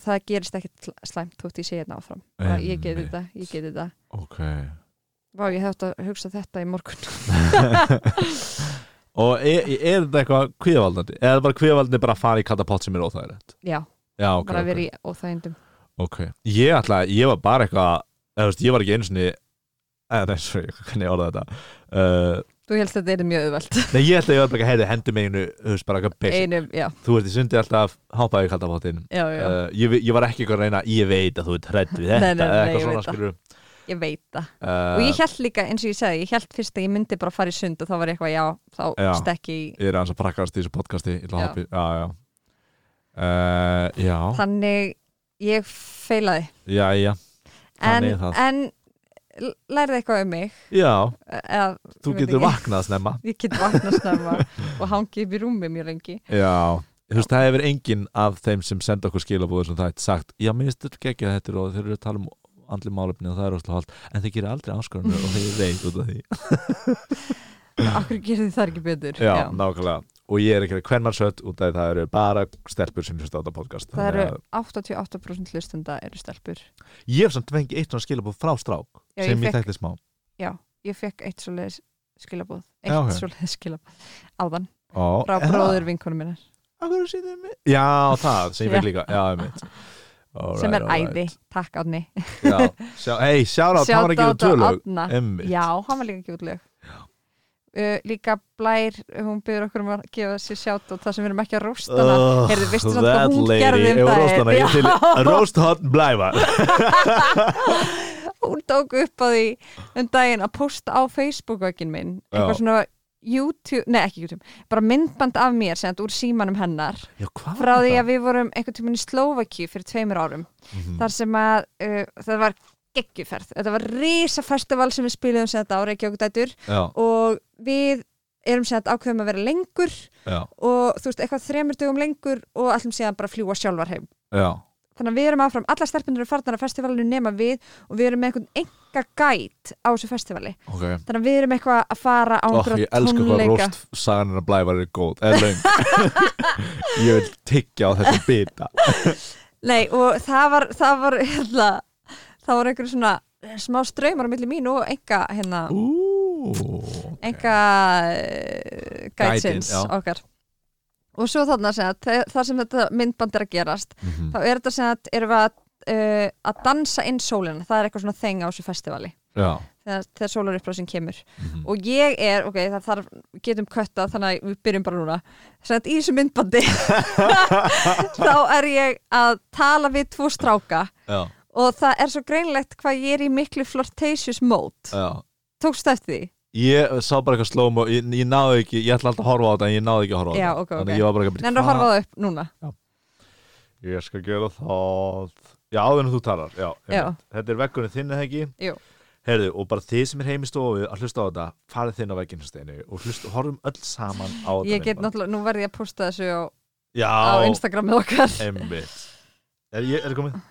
það gerist ekkert slæmt þótt ég sé hérna áfram, bara, ég get
Einmitt.
þetta, ég get þetta
ok
Vá, ég hef þetta hugsað þetta í morgun.
og er, er þetta eitthvað kvíðavaldandi eða er bara kvíðavaldandi bara að fara í katapott sem er óþægilegt
Já,
já, ok,
bara
ok,
verið í óþægindum. ok.
ok ég ætla, ég var bara eitthvað eða, þú veist, ég var ekki einu sinni eða, nei, sorry, hvernig ég orða þetta uh,
Þú Þú helst að þetta er mjög auðvelt
Nei, ég ætla að ég var bara að heiði hendi með einu Þú veist bara eitthvað basic
Einum, já,
Þú ert í sundi alltaf hápaði kaldafáttin
já, já
uh, ég, vi- ég var ekki eitthvað að reyna Ég veit að þú ert hrædd við
Nei,
þetta
nei, nei,
eða
nei, ég
Eitthvað svona
veit það.
skilur
Ég veit það
uh,
Og ég held líka, eins og ég segi, ég held fyrst að ég myndi bara fara í sund og þá var ég eitthvað, já, þá
Já.
stekki í
Ég er aðeins að prakkast í þessu podcasti Ég ætla að hoppa í Já, já Uh,
Já.
já,
Þannig ég feilaði
já, já,
En,
Þannig er það.
en l- lærði eitthvað um mig
já,
eða,
þú
Ég veit
getur
ekki.
vaknað snemma
Ég get vakna snemma og hangi upp í rúmi mjög lengi
Já, þú veist, það hefur enginn af þeim sem senda okkur skilabóður sem það er sagt Já, mér finnst þetta ekki að þetta er og þeir eru að tala um andli málefni og það er óslega hald en þeir gerir aldrei áskorunum og þeir eru reyð út af því
Akkur gerði það ekki betur
Já, nákvæmlega og ég er ekki að hvern mann sött út af því það eru bara stelpur sem hlusta á þetta podcast
Það
Þannig
eru 88% hlustenda eru stelpur
að ég hef samt fengið eitt svona skilabóð frá strák
Já,
sem
ég
ég,
fékk-
þekkti smá
Ég fekk eitt svoleiðis skilabóð Eitt
Já, ok.
svoleiðis skilabóð Áðan,
Ó,
frá
er það?
bróður vinkonum minnar
Af hverju sýnir þið mig? Já, það sem ég fekk líka Já, ég mitt
sem er æði, takk Árni
æði Hei, sjára, það var ekki á
Shoutout á
tölög
Árna.
Emmitt
Já, hann var líka gjóðleg uh, Líka Blær, hún byrður okkur um að gefa sér sjátt og það sem við erum ekki að rústa hana
Ugh,
Heyrðu, veistu samt hvað
that
hún
lady.
gerði
Ef
um
hún
daginn?
roast hana, ég til roast hot blæfa
Hún tók upp á því um daginn að posta á Facebook-vögin minn
Já.
eitthvað svona YouTube, nei ekki YouTube bara myndband af mér sem þetta úr símanum hennar
Já, hvað
frá því að við vorum einhvern tímann í Slovaki fyrir tveimur árum
við
þar sem að uh, það var geggjuferð, þetta var risa festival sem við spilaðum sem þetta ára ekki okkur dætur
Já,
og við erum sem þetta ákveðum að vera lengur
já,
og þú veist, eitthvað þremur dögum lengur og allum síðan bara fljúa sjálfar heim
já
þannig að við erum áfram, alla stelpunir eru farnar að festivalinu nema við og við erum með einhvern enga gæt á þessu festivali
Ok
þannig að við erum eitthvað að fara á
Oh, ég
einhverja
elsku hvað
tónleika
roast sagan að blæfa er góð, er löng Ég vil tyggja á þetta bita
Nei, og það var það var, hérna, það var einhver svona eh, smá straumar á milli mín og enga hérna,
Ú, ok.
enga
Gætin,
uh, gætsins
já.
okkar og svo þarna sem að þe- þar sem þetta myndband er að gerast
Mhm.
þá er þetta sem að erum við að, uh, að dansa inn sólina, það er eitthvað svona þeng á þessu festivali
Já,
þegar, þegar sólarupprásin kemur
Mhm.
og ég er, ok, það þarf getum kötta þannig að við byrjum bara núna sem að í þessu myndbandi þá er ég að tala við tvo stráka
já,
og það er svo greinlegt hvað ég er í miklu flirtatious mode
já
tókstu eftir því?
Ég sá bara eitthvað slóm og ég, ég náði ekki, ég ætla alltaf að horfa á þetta en ég náði ekki að horfa á
Já,
þetta
ok, ok.
Þannig ég var bara ekki
Nennar að horfa það upp núna
Ég skal gera það Já, áður en þú talar já,
Já.
einmitt. Þetta er vekkurinn þinn eða ekki
Jú.
Heyrðu, og bara þið sem er heim í stofu að hlusta á þetta, farið þinn á vegginn steinu og hlust, horfum öll saman á þetta
ég get
myndband.
náttúrulega, nú verði ég að posta þessu á,
Já,
á Instagramið okkar
einmitt Er ég, er ég komið?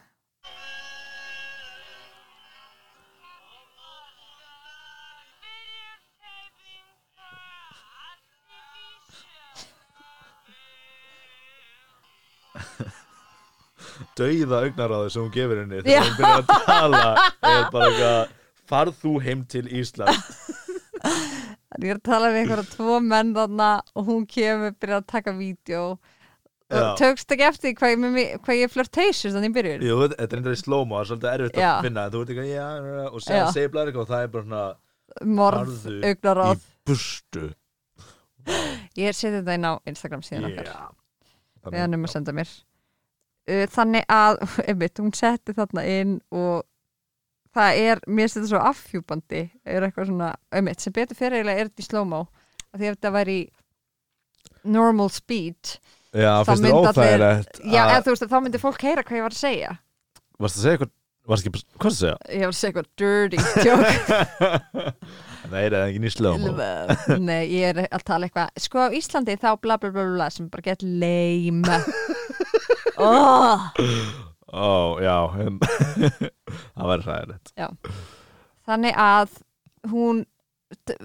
Dauða augnaráðu sem hún gefur henni
Já.
þegar hún byrjar að tala er bara eitthvað farð þú heim til Ísland
ég er að tala við einhverja tvo menn þarna og hún kemur, byrjar að taka vídeo
Já.
tókstu ekki eftir því hvað ég, með mig- hvað ég er flirtatious þannig í byrjun
Jú, þetta er eitthvað í slow-mo, það er svolítið erfitt
Já.
að finna en þú veit ekki, já, já, já, og
Já.
segja seiflar eitthvað og það er bara svona
morð,
farðu
augnaráð
í burstu
Ég seti þetta inn á Instagram síðan okkar
Já.
við hann um að senda mér Uh, Þannig að, einmitt, hún setti þarna inn og það er, mér finnst þetta svo afhjúpandi er eitthvað svona, einmitt, sem betur fyrir eiginlega er þetta í slow-mo af því ef þetta væri í normal speed
Já, finnst
Þá
þér
mynda allir-
óþægilegt
Já,
að-
eða þú veist að þá myndi fólk heyra hvað ég var að segja
Varst að segja eitthvað Varst ekki, hvað varstu að segja?
Ég var að segja eitthvað dirty joke
Nei, það er ekki nýslega
Nei, ég er að tala eitthvað Sko á Íslandi þá bla bla bla bla sem bara get lame oh,
Ó, já en- Það væri hræðilegt
Þannig að hún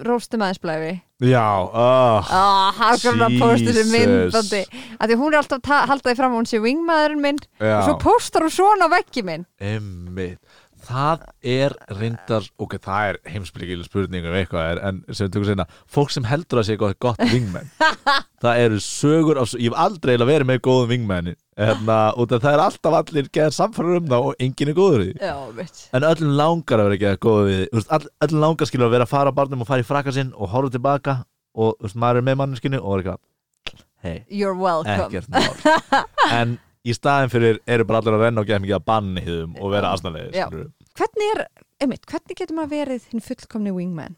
róstum aðeins blæfi
Já, ah
ah, hann kom að posta þessu
Jesus.
myndbandi að því hún er alltaf að halda því fram að hún sé wingmaðurinn minn
Já,
og svo postar hún svona á veggi minn
emmitt það er reyndar ok, það er heimsbyggjil spurning um eitthvað er, en sem við tökum sinna, fólk sem heldur að sé gott, gott vingmenn það eru sögur, af, ég hef aldrei eiginlega verið með góðum vingmenn en það er alltaf allir geðar samfæður um það og enginn er góður í því
Já, mitt
en öllum langar að vera ekki að góða við þú veist, all, öllum langar skilur að vera að fara á barnum og fara í frakka sinn og horfa tilbaka og þú veist, maður er með manneskinu og er eitthvað hei,
You're welcome
ekkert mál en í staðin fyrir eru bara allir að renna og geta mikið að banni hýðum og vera asnalegir
Já.
skilurðu.
Hvernig er, einmitt, hvernig getur maður verið hinn fullkomni wingman?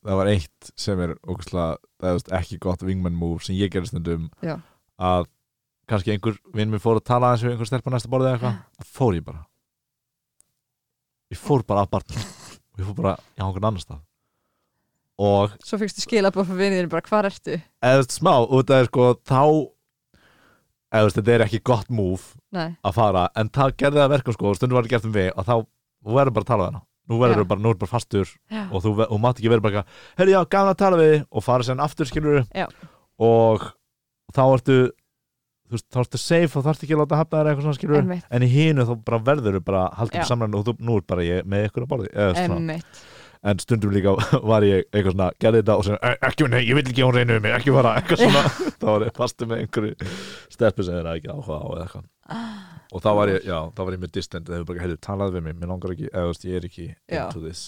það var eitt sem er ógustlega, það er þú veist, ekki gott wingman move sem ég gerði stundum
Já.
að kannski einhver vinn mér fór að tala aðeins við einhver stelpa næsta borðið eða eitthvað þá fór ég bara ég fór bara að barnum og ég fór bara í einhvern annar stað og
Svo fyrstu skilabóð fyrir vinniðinu bara, hvar ertu?
eða þú veist, smá, út af sko þá eða þú veist, þetta er ekki gott múf
Nei,
að fara, en það gerði það verkum sko og stundum var það gert um við og þá verður bara að tala við hana nú verður
Já.
bara, nú er bara fastur
já,
og þú ve- og mátt ekki verið bara eitthvað, herri já, gana að tala við þig," og fara sérna aftur skilur
Já.
og þá ertu þú veist, þá ertu safe og þarftu ekki að láta hafna þér eitthvað svona skilur
Einmitt.
en í hinu þá bara verður bara haldum
Já.
samræðan og þú, nú er bara ég með ykkur að borði eða, svona
emmitt
en stundum líka var ég eitthvað svona, gerði þetta og sem, ekki, nei, ég vil ekki að hún reynu um mig, ekki fara, eitthvað svona þá var ég fastu með einhverju steppi sem þeir hafði ekki áhuga á eða eitthvað
Ah.
og þá var ég, já, þá var ég með distant eða þau bara, heyrðu, talaðu við mig, mér langar ekki eða þú veist, ég er ekki
Já.
into this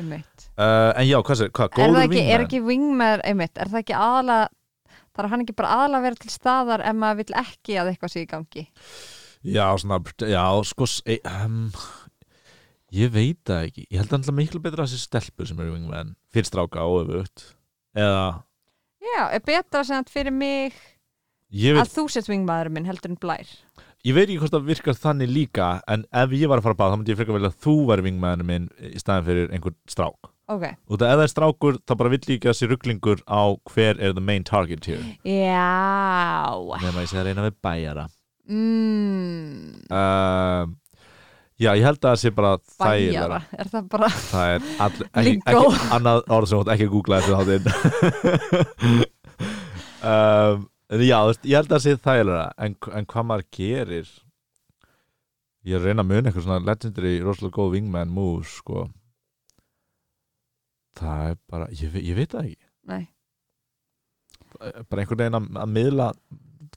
Emmitt
uh, en já, hvað, sér- hvað,
er það
góður
ekki, er
vingmenn
ekki wingman einmitt, er það ekki aðla þarf hann ekki bara aðla að vera til staðar ef maður vill ekki að eitthvað sé í gangi
já, svona, já, sko s- e, um, ég veit það ekki ég held að alltaf miklu betra að þessi stelpur sem eru vingmenn, fyrir stráka og öfugt eða,
já, er betra sem sagt fyrir mig
ég vil
að þú sett wingmaður minn heldur en blær
ég veit ekki hvort það virkar þannig líka en ef ég var að fara að báða þá myndi ég frekar velja að þú væri vingmaðurinn minn í staðan fyrir einhvern strák
ok,
og það ef það er strákur þá bara vill ég ekki að sé rugglingur á hver er the main target here
já
nema ég sé að reyna við bæjara
mm,
um, já ég held að það sé bara
bæjara,
þægilegra.
er það bara
það er all, ekki,
Lingó.
ekki annað orð sem þú átt ekki að googla þessu þáttinn um, en já þú veist, ég held að það sé þægilega en, en hvað maður gerir ég er að reyna að muna eitthvað svona legendary rosalega góð wingman move sko það er bara, ég, ve- ég veit það ekki
nei,
bara einhvern veginn að, að miðla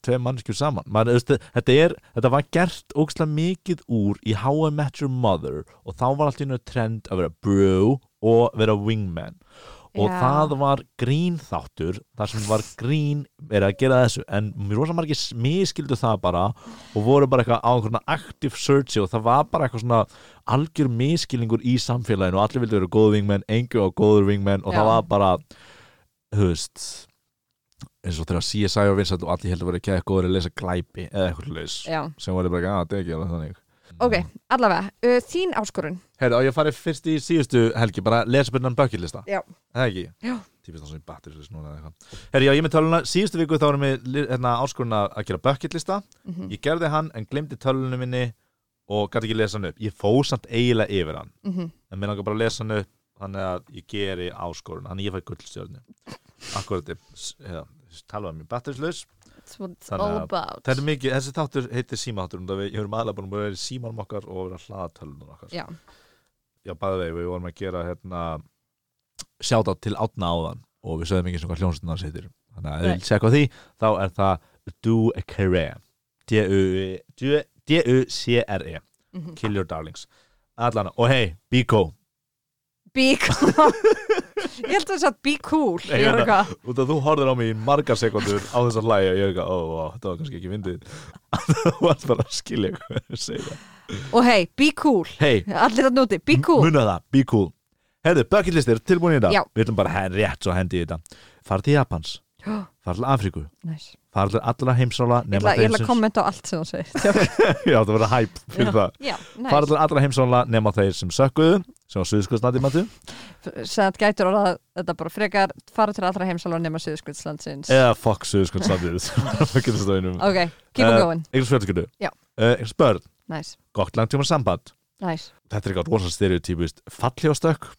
tveir mannskjur saman maður, þú veist, þetta, er, þetta var gert ógslag mikið úr í How I Met Your Mother og þá var allt í nöðu trend að vera brew og vera wingman og
Já.
það var grín þáttur þar sem var grín verið að gera þessu en mér rosa margir miskildu það bara og voru bara eitthvað á einhverjum active searchi og það var bara eitthvað svona algjör miskilningur í samfélaginu og allir vildu vera góð vingmenn, engu á góður vingmenn og
Já.
það var bara þú veist eins og þegar CSI og Vincent og allir heldur verið ekki að góður að lesa glæpi eða eitthvað laus
já,
sem voru bara ekki að það er ekki alveg þannig
ok, allavega uh, þín áskorun,
Heyrðu, á ég farið fyrst í síðustu helgi bara lesbunnan bökkillista
Já.
Það ekki?
Já.
Típist það sem battir þessu núna eða eitthvað Herri, já, ég er með töluna Síðustu viku þá erum við li- hérna, áskorun að að gera bökkillista
mm -hmm.
Ég gerði hann en glemdi tölunum minni og gæti ekki lesa hann upp Ég fóð samt eiginlega yfir hann
Mhm.
en mér langar bara að lesa hann upp þannig að ég geri áskorun þannig að ég fæ gullstjörnu Akkurat, ég- s- hérna, talaðu um mér batterislaus
that's what it's
Þannig
all
að-
about
Þetta er mikið, þessi þáttur heitir símaþáttur um það við, ég erum aðlega búin að vera í símanum okkar og vera að hlaða tölunum okkar.
Já.
Já, bæði vegi, við vorum að gera hérna sjáta til átna áðan og við sögum ekki sem hvað hljónstunna hans heitir. Þannig að ef
Nei.
við vilja segja hvað því, þá er það Do a Career. E, D-U- D-U-C-R-E.
mm -hmm.
E. Kill Your Darlings. Allana, og hei, Biko.
be cool ég held að það satt be cool
Nei,
ég var
hérna.
eitthvað
Út af þú horfðir á mig í margar sekundur á þess að hlæja, ég er eitthvað, ó, ó, þetta var kannski ekki myndið. Þú varst bara að skilja hvað ég segja.
og hei, be cool
Hei,
allir að núti, be cool
Muna það, be cool Herðu, bucket list er tilbúin í þetta
Já.
Við ætlum bara hen, rétt svo hendi í þetta Far til Japans,
Já.
far til Afríku
Næs.
Far til allra heimsóla
Ég ætla, ég ætla að kommenta á allt sem hún segir
Já, það verður hæp fyrir það
Já,
Far
næst
til allra heimsóla nema þeir sem sökkuðu sem á suðskustnandi matu
Sem þetta gætur orða þetta bara frekar fara til allra heimsálfa nema Suðskvöldslandsins
Eða fuck suðskustnandi Eitthvað
Ok, keep on
Eh,
going
fjölskyldu
Já.
Eh, Eitthvað spörn,
Næs,
gott langtíma samband
næs
Þetta er eitthvað rosa stereotypist Falli á stökk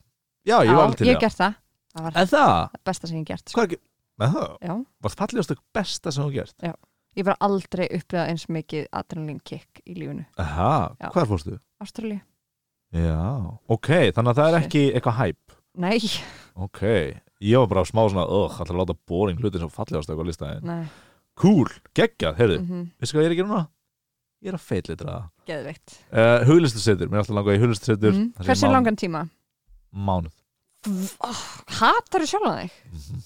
Já, ég var
Já,
alveg til
Ég
í það
hef gert það, það var
En það,
það besta sem ég hef gert sko.
hvað er ekki Með það,
Já,
var falli á stökk besta sem þú gert
ég var aldrei upplifað eins mikið adrenalin kick í lífinu
Aha,
Já.
hvað fórstu?
Ástralíu,
Já, ok, þannig að það er
Shit.
ekki eitthvað hæp
Nei,
Ok, ég var bara smá svona Ugh, ætla að láta boring hluti sem fallegast eitthvað listaðin
nei
Cool, geggjað, heyrðu
mm -hmm.
Veistu hvað ég er að gera núna? Ég er að feitlitra
Geðveikt
uh, Huglistuseitur, mér er alltaf langað í huglistuseitur
mm. Hversu langan tíma?
Mánuð Mhm.
Hatar þú sjálfan þig?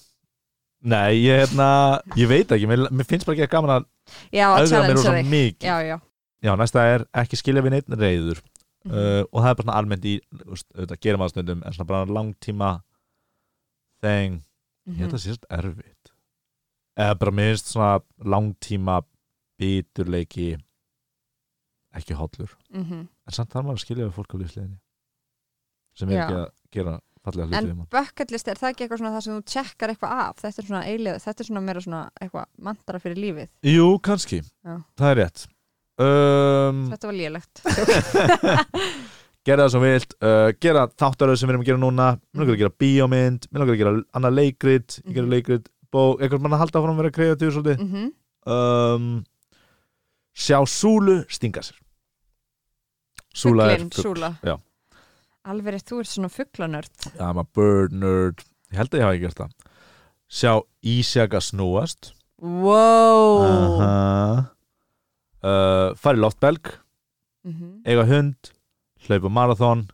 Nei, ég, hérna, ég veit ekki, mér, mér finnst bara ekki gaman að
Já,
öðra mér
challenge
rosa
þig
mikið
Já, já
Já, næsta er ekki skilja við neitt reyður
Mhm.
uh, og það er bara svona almennt í þú veist, auðvitað gerir maður stundum en svona bara langtíma þeng, ég held
Mhm.
að sést erfitt eða bara minnst svona langtíma biturleiki ekki hollur
Mhm.
en samt þarf maður að skilja við fólk á lífsleginni sem er
Já.
ekki að gera fallega hluti
En
við mann
bucket list, er það ekki eitthvað svona það sem þú tjekkar eitthvað af? Þetta er svona eilið, þetta er svona meira svona eitthvað mandara fyrir lífið.
Jú, kannski,
Já.
það er rétt um,
Þetta var lélegt.
gera það sem þú vilt uh, gera þáttaröð sem við erum að gera núna mér langar að gera bíómynd, mér langar að gera annað leikrit, ég gera
Mhm. leikrit,
leikrit bók, eitthvað mann að halda áfram að vera kreatív svolítið
mm -hmm.
um, sjá súlu, stinga sér súla er fugl.
Súla.
já.
Alveg, þú ert svona fuglanörd.
I'm a bird nerd, ég held að ég hafa ekki gert það sjá ísjaka snúast
Wow!
Aha. uh, fara í loftbelg
Mhm.
eiga hund, hlaupa marathon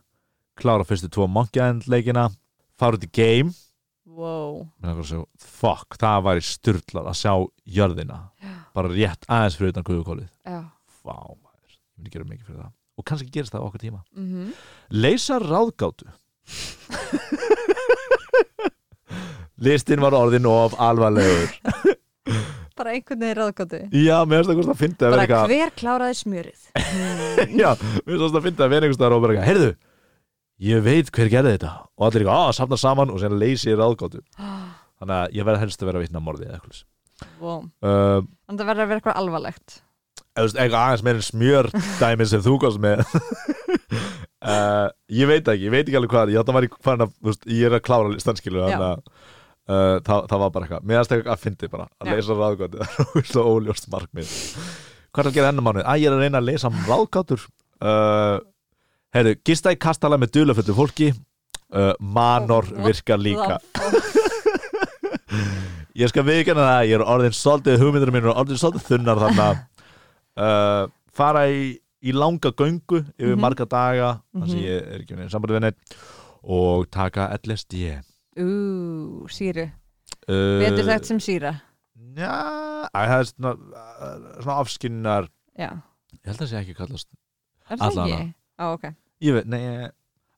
klára fyrstu tvo monkey end leikina fara út í game
Wow.
Mér langar að segja, fuck, það væri styrlað að sjá jörðina bara rétt aðeins fyrir utan guðukólið
Já.
Vá, maður, ég myndi gera mikið fyrir það og kannski gerist það á okkur tíma
Mm
Leysa ráðgátu Listin var orðin of alvarlegur
Bara einhvern veginn ráðgóti.
Já, mér finnst það hvort það fyndi að
Bara
vera eitthvað
hver kláraði smjörið?
Já, mér finnst það fyndi að vera einhvers staðar og bara eitthvað Heyrðu, ég veit hver gerði þetta og allir eitthvað, að, safna saman og sér leysi ráðgátu Þannig að ég verð helst að vera vitna að morðið eða eitthvað svoleiðis.
wow.
uh,
En það verður að vera eitthvað alvarlegt.
eða þú veist, eitthvað aðeins meira en smjör dæmi sem þú komst með uh, ég veit ekki, ég veit ekki alveg hvað ég, var í, að, þú veist, ég er að klára listanskilu
Já.
þannig að uh, það, það var bara eitthvað mér aðstæk að fyndi bara, að
Já.
leysa ráðgátu það er óvíslega óljóst markmið hvað er að gera ennum mánuð? að ég er að reyna að leysa ráðgátur uh, herru, gista í kastala með dulaföldu fólki uh, manor
Oh, what
virkar líka
Það-
ég skal viðkjanna það, ég er orðin svolítið hugmyndur mínu er orðin svolítið þunnar þannig að uh, fara í, í langa göngu yfir
Mhm.
marga daga þannig að
Mhm.
ég er ekki neins sambandi við neitt og taka LSD
Ú, síru.
uh,
Betur þetta sem síra.
Já, æ, það er svona, svona afskinnar
Já.
ég held að það sé ekki kallast
Er það
Alla
ekki? Á, ok.
ég veit, nei,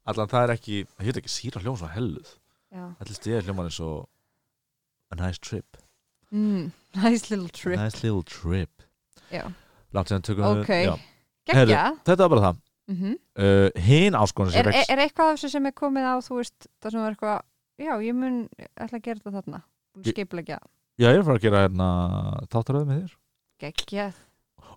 allan það er ekki það hefur ekki síra hljón svo helluð
Já.
LSD er hljóman eins og a nice trip,
Mm, nice little
a
trip
nice little trip
Já.
langt sem tökum
Ok.
við já.
Gekja
þetta var bara það
mm
uh, hinn áskonu sem
er,
vex
er eitthvað af þessu sem er komið á þú veist, það sem er eitthvað Já, ég mun ætla að gera þetta þarna
Ég-
Skiplegja,
já, ég er fyrir að gera hérna, þáttaröðu með þér
gegja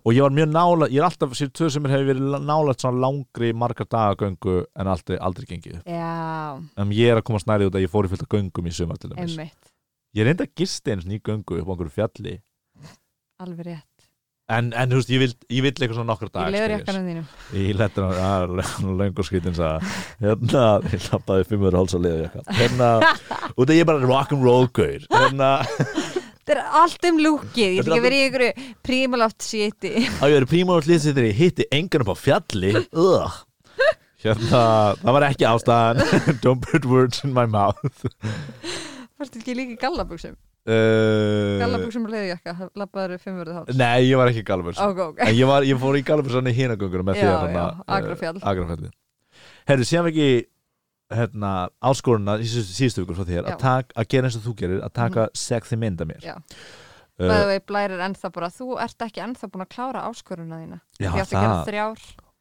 og ég var mjög nála, ég er alltaf sér tvö sem hefur verið nála svona langri margar dagagöngu en aldrei, aldrei gengið upp.
Já,
en ég er að koma snærið út að ég fór í fullt af göngum í sumar til dæmis
emmitt,
ég reyndi að gisti eins ný göngu upp á einhverju fjalli
alveg rétt
en, en þú veist, ég vil, ég vil eitthvað svona nokkra dag
Ég leður jakkanum þínum
ég letur hann það er alveg löngu skrítin sagði hann. hérna, ég lappaði 500 háls að leður jakkan hérna, út að ég er bara rock'n'roll gaur hérna,
Þetta er allt um lúkið, ég
Þetta
ætla
er
ekki að vera í einhverju primaloft síti
að ég verið prímur allir þegar ég hitti engan upp á fjalli Ugh. hérna, það var ekki ástæðan don't put words in my mouth
Varstu ekki líka í gallabuxum?
Uh,
Gallabuxum og leðurjakka, labbaður fimmverðu háls
nei, ég var ekki í Galvers
Ok, ok,
En ég, var, ég fór í Galvers hann í hinagöngunum með
Já,
þér
já,
þarna, eh,
Akrafjall.
Akrafjalli Herri, séum við ekki hérna, áskoruna í síðustu- síðustu vikur frá þér
Já. Mhm.
að, tak, að gera eins og þú gerir að taka sexy mynd af mér
Já.
uh,
bæðu vei blærir ennþá bara Þú ert ekki ennþá búin að klára áskoruna þína
Já,
Ég átti að gera
það
þrjár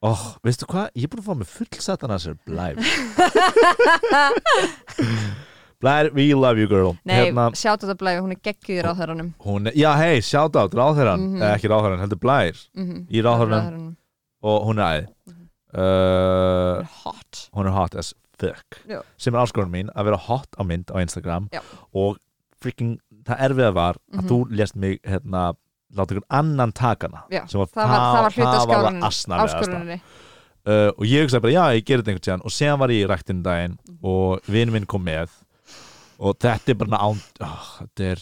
oh, Veistu hvað, ég er búin að fá mig full satan að sér Blær Blær, we love you girl Hérna,
Nei, sjáttu þetta blæði, hún er geggjur á þærunum
hún, er- Já, hei, shout out, ráðherran
Mhm.
eh, Ekki ráðherran, heldur Blær Í ráðherranum og hún er æði uh,
Hot
hún er hot as fuck
Já.
sem er áskorun mín að vera hot á mynd á Instagram
Já.
og freaking það erfiða var að
Mhm.
þú lést mig hérna, láta einhvern annan taka hana
Já,
sem var,
það var- það var hluti
það
af
var
skáluninni,
asnalegasta.
Áskoruninni
uh, og ég hugsaði bara, já, ég gerði þetta einhvern tíðan og séðan var ég í ræktinu daginn og vinn minn kom með og þetta er bara án, oh, þetta er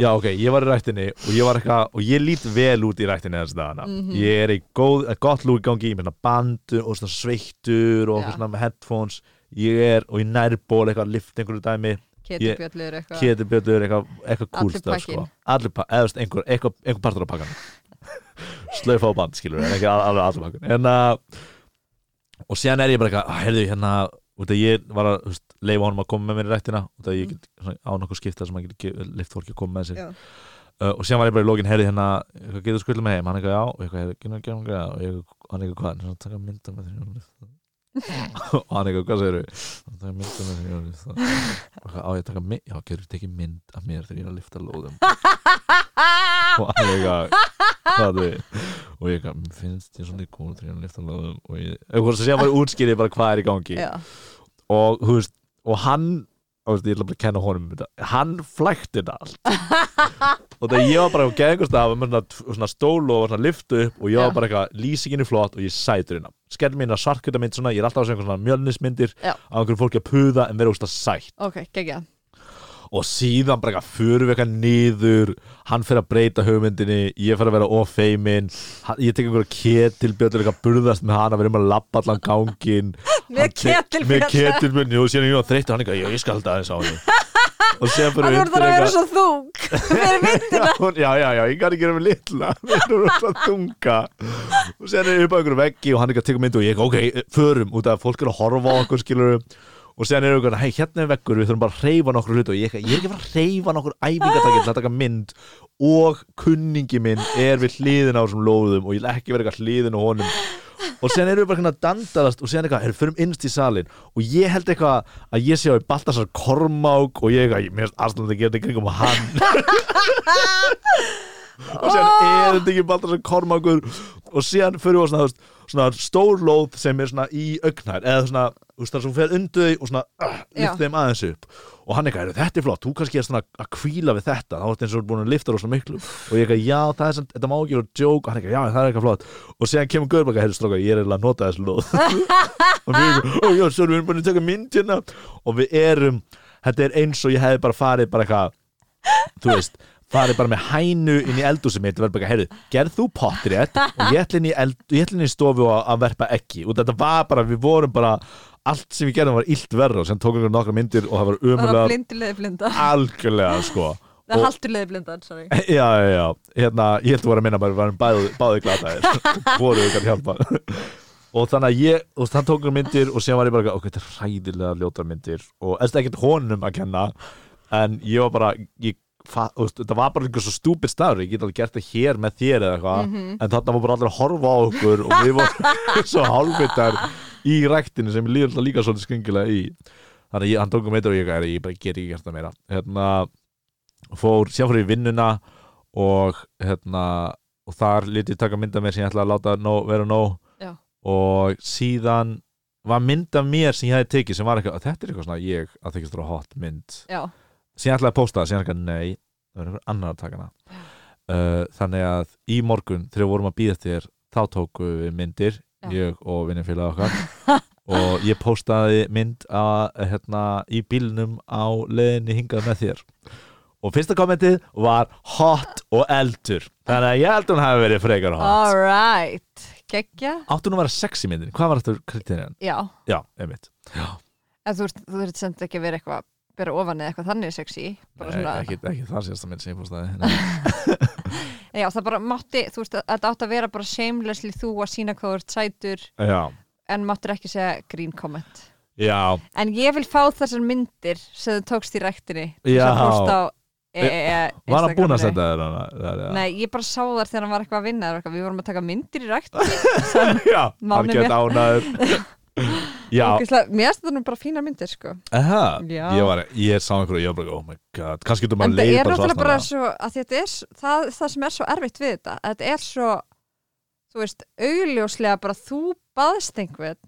já, ok, ég var í ræktinu og ég var eitthvað, og ég lít vel út í ræktinu þessi dagana,
Mhm.
ég er í góð, eh, gott lúk í gangi, ég meina bandu og svona sveittur og
Já.
svona með headphones ég er, og ég nærból eitthvað, lift einhverju dæmi, Ég-
ketubjöllur eitthvað
Keti Björnur eitthvað eitthvað cool
Allir
stöf sko.
pakkinn.
allir pakkin eða þú veist, einhver, einhver, einhver partur á pakkan slöfa á band skilur en ekki al- alveg allir pakkan en, uh, og síðan er ég bara eitthvað heyrðu hérna út að ég var að þú veist, leifa honum að koma með mér í rættina út að ég get svona, á nokkuð skipta sem að get lift fólki að koma með sér
Mm. Já.
uh, og síðan var ég bara í lókin heyrðu hérna eitthvað getur skuldið með heim hann eitthvað já og eitthvað heyrðu getur ekki um græða og ég eitthvað hann eitthvað hvað hann er að taka mynda með þér í jólið." og hann eitthvað hvað segir hann taka mynda með þér í jólið." Og eitthvað, á ég að taka mynd já getur ekki tekið mynd af mér þegar ég er að lifta lóðum og hann eitthvað hvað er þið og ég eitthvað, "Mér finnst ég svona í kúl þegar ég er að lifta lóðum og ég, eitthvað sem var útskýrið bara hvað er í gangi
Já.
og, þú veist, og hann og, þú veist, ég ætla bara að kenna honum um þetta hann flækti þetta allt og þegar ég var bara að geða einhvers stað með svona, svona stól og var svona liftu upp og ég
Já.
var bara eitthvað, lýsingin er flott og ég er sætur hérna skell mín að svartkvita mynd svona, ég er alltaf að segja einhver svona mjölnismyndir
Já.
á einhverju fólki að puða en vera úst að sætt
ok, geggja
og síðan bara eitthvað fyrir við eitthvað niður hann fyrir að breyta hugmyndinni ég fyrir að vera ofeimin hann- ég tek einhverja ketilbjöldur eitthvað burðast með hann að vera um að labba allan gangin
Með
Hann tek-
ketilbjöldu.
með ketilbjöldu og síðan er ég var þreytt og hann eitthvað, já ég skal halda aðeins á henni og síðan fyrir
hann
við
voru það að vera svo þung fyrir mynd
Já, hún- já, já, já, ég kann ekki vera með litla Þeir eru alltaf tunga Og sér er upp á einhverju veggi og hann er ekki að teka myndu Og ég, ok, förum, út af að fólk er að horfa á okkur skilur Og sér er einhverju, hei, hérna er veggur Við þurfum bara að reyfa nokkur hlutu Og ég, ég er ekki að fara að reyfa nokkur æfingatakir Til að taka mynd og kunningi minn Er við hliðin á þessum lóðum Og ég vil ekki vera eitthvað hliðin á honum og sen erum við bara hérna að dandarast og sen eitthvað, erum förum innst í salin og ég held eitthvað að ég sé á í Baltasar Kormák og ég eitthvað, ég minnst Aslandi að gera þetta í kringum hann og sen er þetta ekki Baltasar Kormákur og sen förum við á svona, þú veist, svona stór lóð sem er svona í augnær eða svona, þú veist, það sem fer undir þau og svona uh,
Já.
lift þeim aðeins upp og hann eitthvað, "Heyrðu, þetta er flott, þú kannski er svona að kvíla við þetta, þá ertu eins og búin að lifta rosa miklu og ég eitthvað, já, það er sem, þetta má ekki vera joke og hann eitthvað, já, það er eitthvað flott og séðan kemur Gaurbaka, heyrðu stróka, ég er eiginlega að nota þessu lóð og við eitthvað, ó, já, svo erum við búin að taka mynd hérna og við erum, þetta er eins og ég hefði bara farið bara eitthvað þú veist, farið bara með hænu inn í eldhúsið mitt og verður bara, heyrðu, gerð þú pottrétt og ég ætla inn í, eld, ég ætla inn í stofu að, að verpa ekki og þetta var bara, við vorum bara allt sem við gerðum var illt verra og sem tókum við nokkra myndir og það var
það var
umulega
blindilegði blinda
algjörlega sko
það
Og-
haldilegði blinda, sorry
Já, já, já, hérna, ég held að vera að minna bara við varum bæði, báði glataðir voru ykkar hjálpa og þannig að ég, og þannig tók hann myndir og síðan var ég bara, ok, þetta er hræðilega ljótar myndir og þetta er ekkert honum að kenna en ég var bara ég, fa, þú veist, þetta var bara einhver svo stúpid staður ég get alveg gert það hér með þér eða eitthvað en þarna var bara allir að horfa á okkur og við vorum svo hálfittar í ræktinu sem ég líður alltaf líka svolítið skringilega í þannig að ég, hann tók hann myndir og ég, ég bara get ekki gert það meira hérna, fór, síðan fór ég í vinnuna og hérna og þar lítið taka mynda mér sem ég ætla að láta nóg, vera nóg
Já.
og síðan var mynd af mér sem ég hefði tekið sem var eitthvað, þetta er eitthvað svona ég að þykist þrjá hot mynd
já,
síðan ætlaði að posta það, síðan eitthvað nei það var einhver annar að taka hana uh, þannig að í morgun þegar við vorum að býða þér þá tóku við myndir
Já.
ég og vinnifélag okkar og ég postaði mynd að, hérna, í bílnum á leiðinni hingað með þér og fyrsta kommentið var hot og eldur þannig að ég held að hún hafi verið frekar hot
alright geggja,
áttu hún að vera sexy myndin, hvað var þetta kriterið?
já
Já, einmitt
en þú ert- þú þurft semt ekki að vera eitthvað að bera ofan eða eitthvað þannig sexy bara
Nei,
svona,
ekki, ekki þar sérsta mynd sem ég postaði Nei.
já, það bara mátti þú veist, að þetta átt að vera bara shamelessly þú að sína hvað þú ert sætur
Já,
en máttur ekki segja green comment
já
en ég vil fá þessar myndir sem þú tókst í ræktinni
Já. Eh,
e e e
Var hann búinn að
Instagraminu.
setja þér hana? Það er-
Nei, ég bara sá þar þegar hann var eitthvað að vinna eða eitthvað. Við vorum að taka myndir í ræktinni
Já, hann
Mánum
gett ánaður Já,
Ógeðslega- Mér finnst þetta nú bara fína myndir sko.
aha
Já.
Ég var, ég sá einhverju, ég var bara, oh my god Kannski getur
En
maður
það
leið
er
bara svo
náttúrulega bara
aðstæðna
svo að þetta er s- það, það sem er svo erfitt við þetta að þetta er svo þú veist, augljóslega bara þú baðst einhvern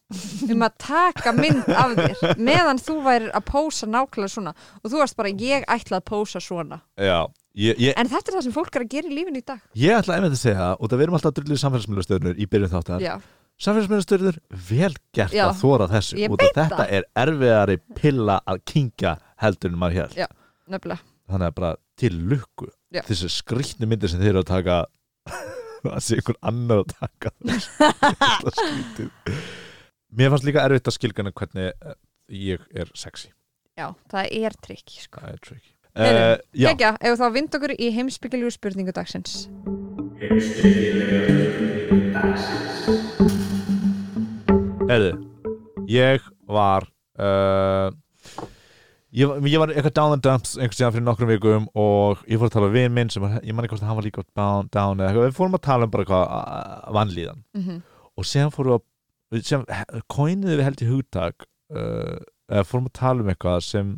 um að taka mynd af þér meðan þú værir að pósa nákvæmlega svona og þú varst bara ég ætla að pósa svona
Já, ég, ég,
en þetta er það sem fólk er að gera í lífinu í dag
ég ætla einmitt að segja það Og það verðum alltaf að drullu samfélagsmiðlustöðnur í byrjun þáttar
Já,
samfélagsmyndastöður vel gert
Já.
að þóra þessu
Ég
út að
veit
þetta
það.
er erfiðari pilla að kingja heldur en maður hér
Já. nöfnilega
þannig að bara til lukku
Já.
þessu skrýtni myndir sem þeir eru að taka að sé einhver annar að taka þetta skrýtið mér fannst líka erfitt að skilgana hvernig eh, ég er sexy
Já, það er trikk sko.
það er tricky uh,
Heyrðu,
já,
Kekja, ef þá vind okkur í heimsbyggilegu spurningu dagsins
erðu ég var uh, ég, var- ég var eitthvað down the dumps einhvers veginn fyrir nokkrum vikum og ég fór að tala við vin minn sem var, ég man ekki hvort að hann var líka down, down eða eitthvað, við fórum að tala um bara hvað vannlíðan
mm
og síðan fórum við að við- síðan he- coinuðum við held í hugtak uh, eða fórum að tala um eitthvað sem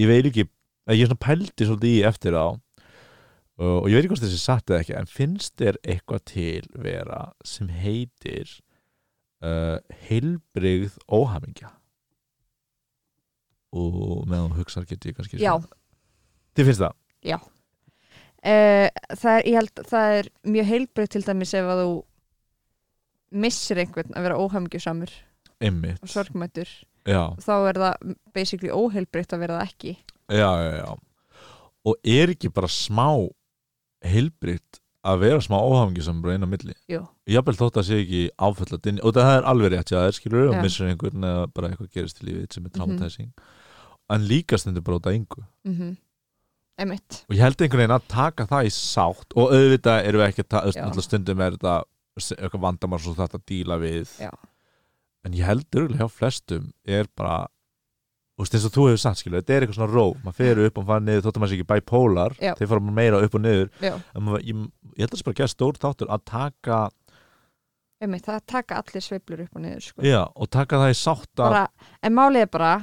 ég veit ekki eða ég svona pældi svolítið í eftir á uh, og ég veit ekki hvort þessi satt eða ekki en finnst þér eitthvað til vera sem heitir uh, heilbrigð óhamingja og meðan þú hugsar get ég kannski
Já,
þið finnst það?
Eh, það er, ég held, það er mjög heilbreytt til dæmis ef að þú missir einhvern að vera óhamgjusamur
Einmitt
og sorgmættur
Já,
þá er það basically óheilbreytt að vera það ekki
já, já, já og er ekki bara smá heilbrigt að vera smá óhafingisam bara inn á milli
Jú.
jafnvel þótt að sé ekki áföllat inn og það er alveg rétt, já, það er skilur og
Já.
missur einhvern eða bara eitthvað gerist í lífið sem er
Mhm.
traumatizing en líka stundur bara út af yngu
mm einmitt
og ég held einhvern veginn að taka það í sátt og auðvitað erum við ekki að ta- þú veist,
Já.
náttúrulega stundum er þetta s- eitthvað vandamál svo þetta díla við
Já.
en ég held örgulega hjá flestum er bara þú veist eins og þú hefur sagt skilu, þetta er eitthvað svona ró maður fer upp og maður fara niður, þóttum maður sé ekki bipolar
Já.
þeir fara meira upp og niður
Já,
En maður, ég, ég held að það sé bara að gera stór þáttur að taka,
einmitt, það taka allir sveiflur upp og niður sko.
já, og taka það í sátt að,
bara, en málið er bara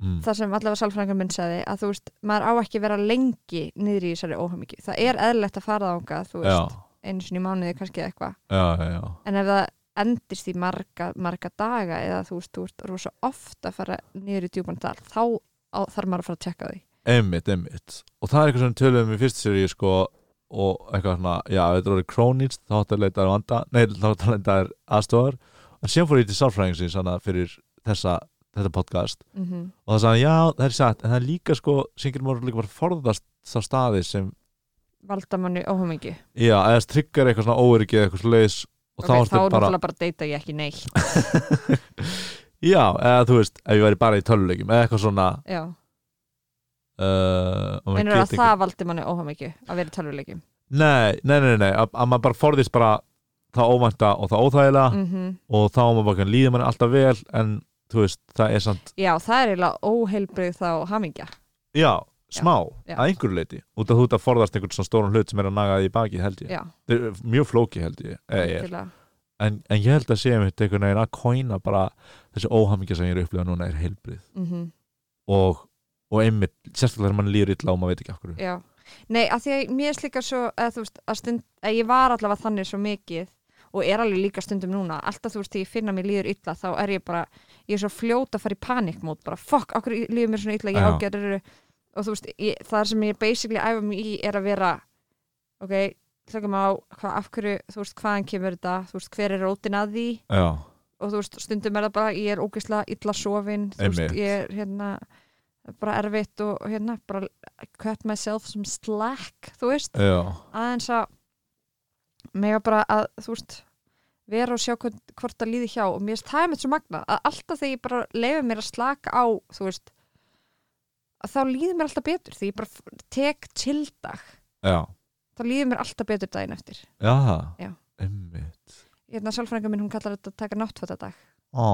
mm,
það sem allavega sálfræðingar minn sagði að þú veist, maður á ekki að vera lengi niður í þessari óhamingju, það er eðlilegt að fara þánga, þú
já,
veist, einu sinni í mánuði kannski eða eitthvað,
já, já, já
en ef það endist í marga, marga daga eða þú veist, þú ert rosa oft að fara niður í djúpan dal, þá á, þarf maður að fara að tjekka því
Einmitt, einmitt. Og það er eitthvað sem við töluðum í fyrstu seríu sko og eitthvað svona, já, ef þetta voru krónist þá ætti að leita þær vanda, nei, þá ætti að leita þær aðstofar. En síðan fór ég til sálfræðingsins hana fyrir þessa, þetta podcast
mm -hmm.
og það sagði, já, það er satt, en það er líka sko, syngir maður líka bara forðast þá staði sem,
valda manni óhamingju
já, eða tryggar eitthvað svona óöryggi eða eitthvað svoleiðis og
Ok,
þá
þá
ertu
er
bara,
náttúrulega bara að deyta ég ekki neitt
já, eða þú veist, ef ég væri bara í tölulegjum eða eitthvað svona,
Já,
uh, og maður
meinur að
geti
það valdi manni óhamingju að vera í tölvuleikum
Nei, nei, nei, nei, að, að maður bara forðist bara það óvænta og það óþægilega
mm
og þá á maður bara að líða manni alltaf vel en þú veist, það er samt
Já, það er eiginlega óheilbrið þá hamingja
já, smá,
Já, já.
að einhverju leiti út af þú ert að forðast einhvern svona stóran hlut sem er að naga því í baki held ég,
Já,
það er mjög flóki held ég, eða ég er.
algjörlega.
en, en ég held að sé einmitt einhvern veginn að kóina bara þessi óhamingja sem ég er upplifað núna er heilbrið
Mhm,
og, og einmitt, sérstaklega þegar mann líður illa og maður veit ekki af hverju
Já Nei, að því að mér er slíka svo að, þú veist, að, stund, að ég var allavega þannig svo mikið og er alveg líka stundum núna alltaf þú veist, þegar ég finna mér líður illa þá er ég bara, ég er svo fljót að fara í panikmót bara, fuck, okkur líður mér svona illa ég
Já.
ágjörður og þú veist, ég, það sem ég basically æfa mig í er að vera ok, hlökkum á hva, af hverju, þú veist, hvaðan kemur þetta þú veist, hver er rótin að því
já,
og þú veist, stundum er það bara, ég er ógeðslega illa sofin, þú veist,
Einmitt.
ég er hérna bara erfitt og og hérna bara cut myself some slack þú veist,
já,
aðeins að mega bara að, þú veist vera og sjá hvort, hvort það líði hjá og mér finnst það er mitt svo magna, að alltaf þegar ég bara leiði mér að slaka á, þú veist að þá líði mér alltaf betur því ég bara f- tek til dag
já
þá líði mér alltaf betur daginn eftir
já,
Já.
einmitt
hérna sálfrænga minn, hún kallar þetta að taka náttfatadag
Ó,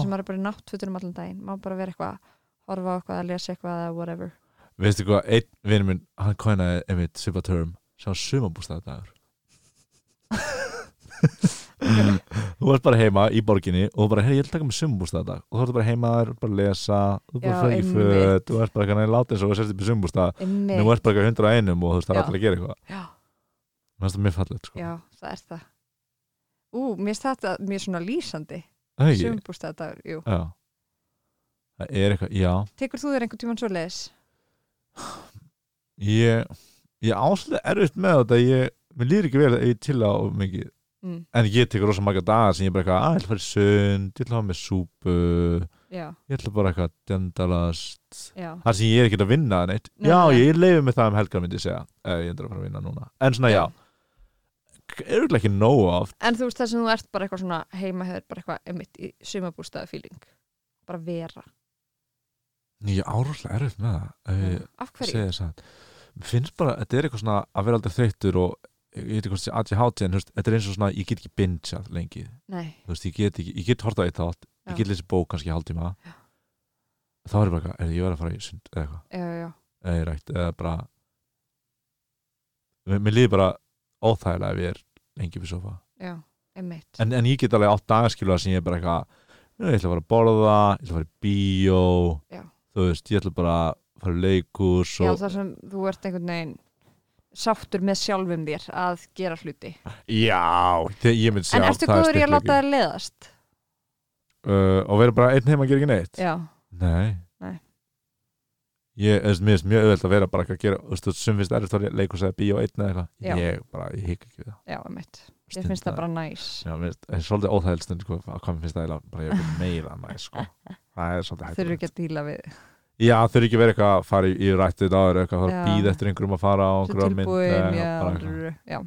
sem maður er bara í náttfötunum allan daginn maður bara vera eitthvað, horfa á eitthvað að lesa eitthvað eða whatever
veistu hvað, einn vinnur minn hann kóinaði einmitt svipa term sem var sumabústaðadagur
Mm.
þú varst bara heima í borginni og þú bara, hey, ég ætla að taka mig sumbústað dag og þú ert bara heima þær, bara að lesa þú ert bara
Já,
að fara ekki föt,
einmitt.
þú ert bara kannan láta eins og þú sérst upp í sumbústað en þú
Einmitt.
ert bara hundra einum og þú veist það er
Já.
allir að gera eitthvað
já,
mér finnst það mjög fallegt sko
já, það er það ú, mér finnst þetta mjög svona lýsandi
Það er ekki?
sumbústaðadagur, jú
Já. það er eitthvað, já
tekur þú þér einhvern tímann svo leis?
ég, ég áslega erfitt með þetta ég, mér líður ekki vel að ég til á mikið
mm,
en ég tekur rosa marga daga sem ég bara eitthvað, að ég ætla að fara í sund ég ætla að hafa með súpu
já,
ég ætla bara eitthvað að dendalast
já,
þar sem ég er ekkert að vinna neitt
Nei,
já,
nei.
ég leiði með það um helgar myndi ég segja ef ég endur að fara að vinna núna en svona já, er ekki nóg oft
en þú veist þess að þú ert bara eitthvað svona heima hefur bara eitthvað emitt í sumabústaða feeling bara vera
ég árúslega erfitt með það ef ég
af hverju?
segja þess að finnst bara, þetta er eitthvað svona að vera aldrei þreyttur og ég veit ekki hvort sé ADHD en þú veist, þetta er eins og svona, ég get ekki bingeað lengi
Nei,
þú veist, ég get ekki, ég get horta eitt þátt
Já.
ég get lesið bók kannski hálftíma þá er ég bara eitthvað, er ég verið að fara í sund eða eitthvað
já, já, já,
eða ég rætt eða bara mér, mér líður bara óþægilega ef ég er lengi við sofa
já, emitt
en, en ég get alveg átt dagaskilu að sem ég er bara eitthvað "Nú, ég ætla að fara að borða, ég ætla að fara í bíó
Já.
þú veist, ég ætla bara að fara í leikús
já,
og
þar sem þú ert einhvern veginn sáttur með sjálfum þér að gera hluti
já, þegar ég myndi sjá
en ertu
það er
góður í að láta
styrkleiki.
þér leiðast?
uh, og vera bara einn heima að gera ekki neitt
Já,
nei,
Nei.
Ég, þú veist, mér finnst mjög auðvelt að vera bara eitthvað að gera, þú veist, sem finnst erist að leikús eða bíó einn eða
Já.
eitthvað, ég bara, ég hik ekki við það
já, emitt ég finnst
Stundar-
það bara næs
Já, mér finnst- það er svolítið óþægild stund sko, að hvað mér finnst það eiginlega bara ég er meira næs sko. það er svolítið
þurfi
hægt
ekki að díla við
já, þurfi ekki verið eitthvað að fara í, í rættið þetta áður eitthvað að fara
Já.
að býða eftir einhverjum að fara á
Svo
einhverjum mynd
tilbúin,
eða
já,
eh, bara eitthvað.
rr, já,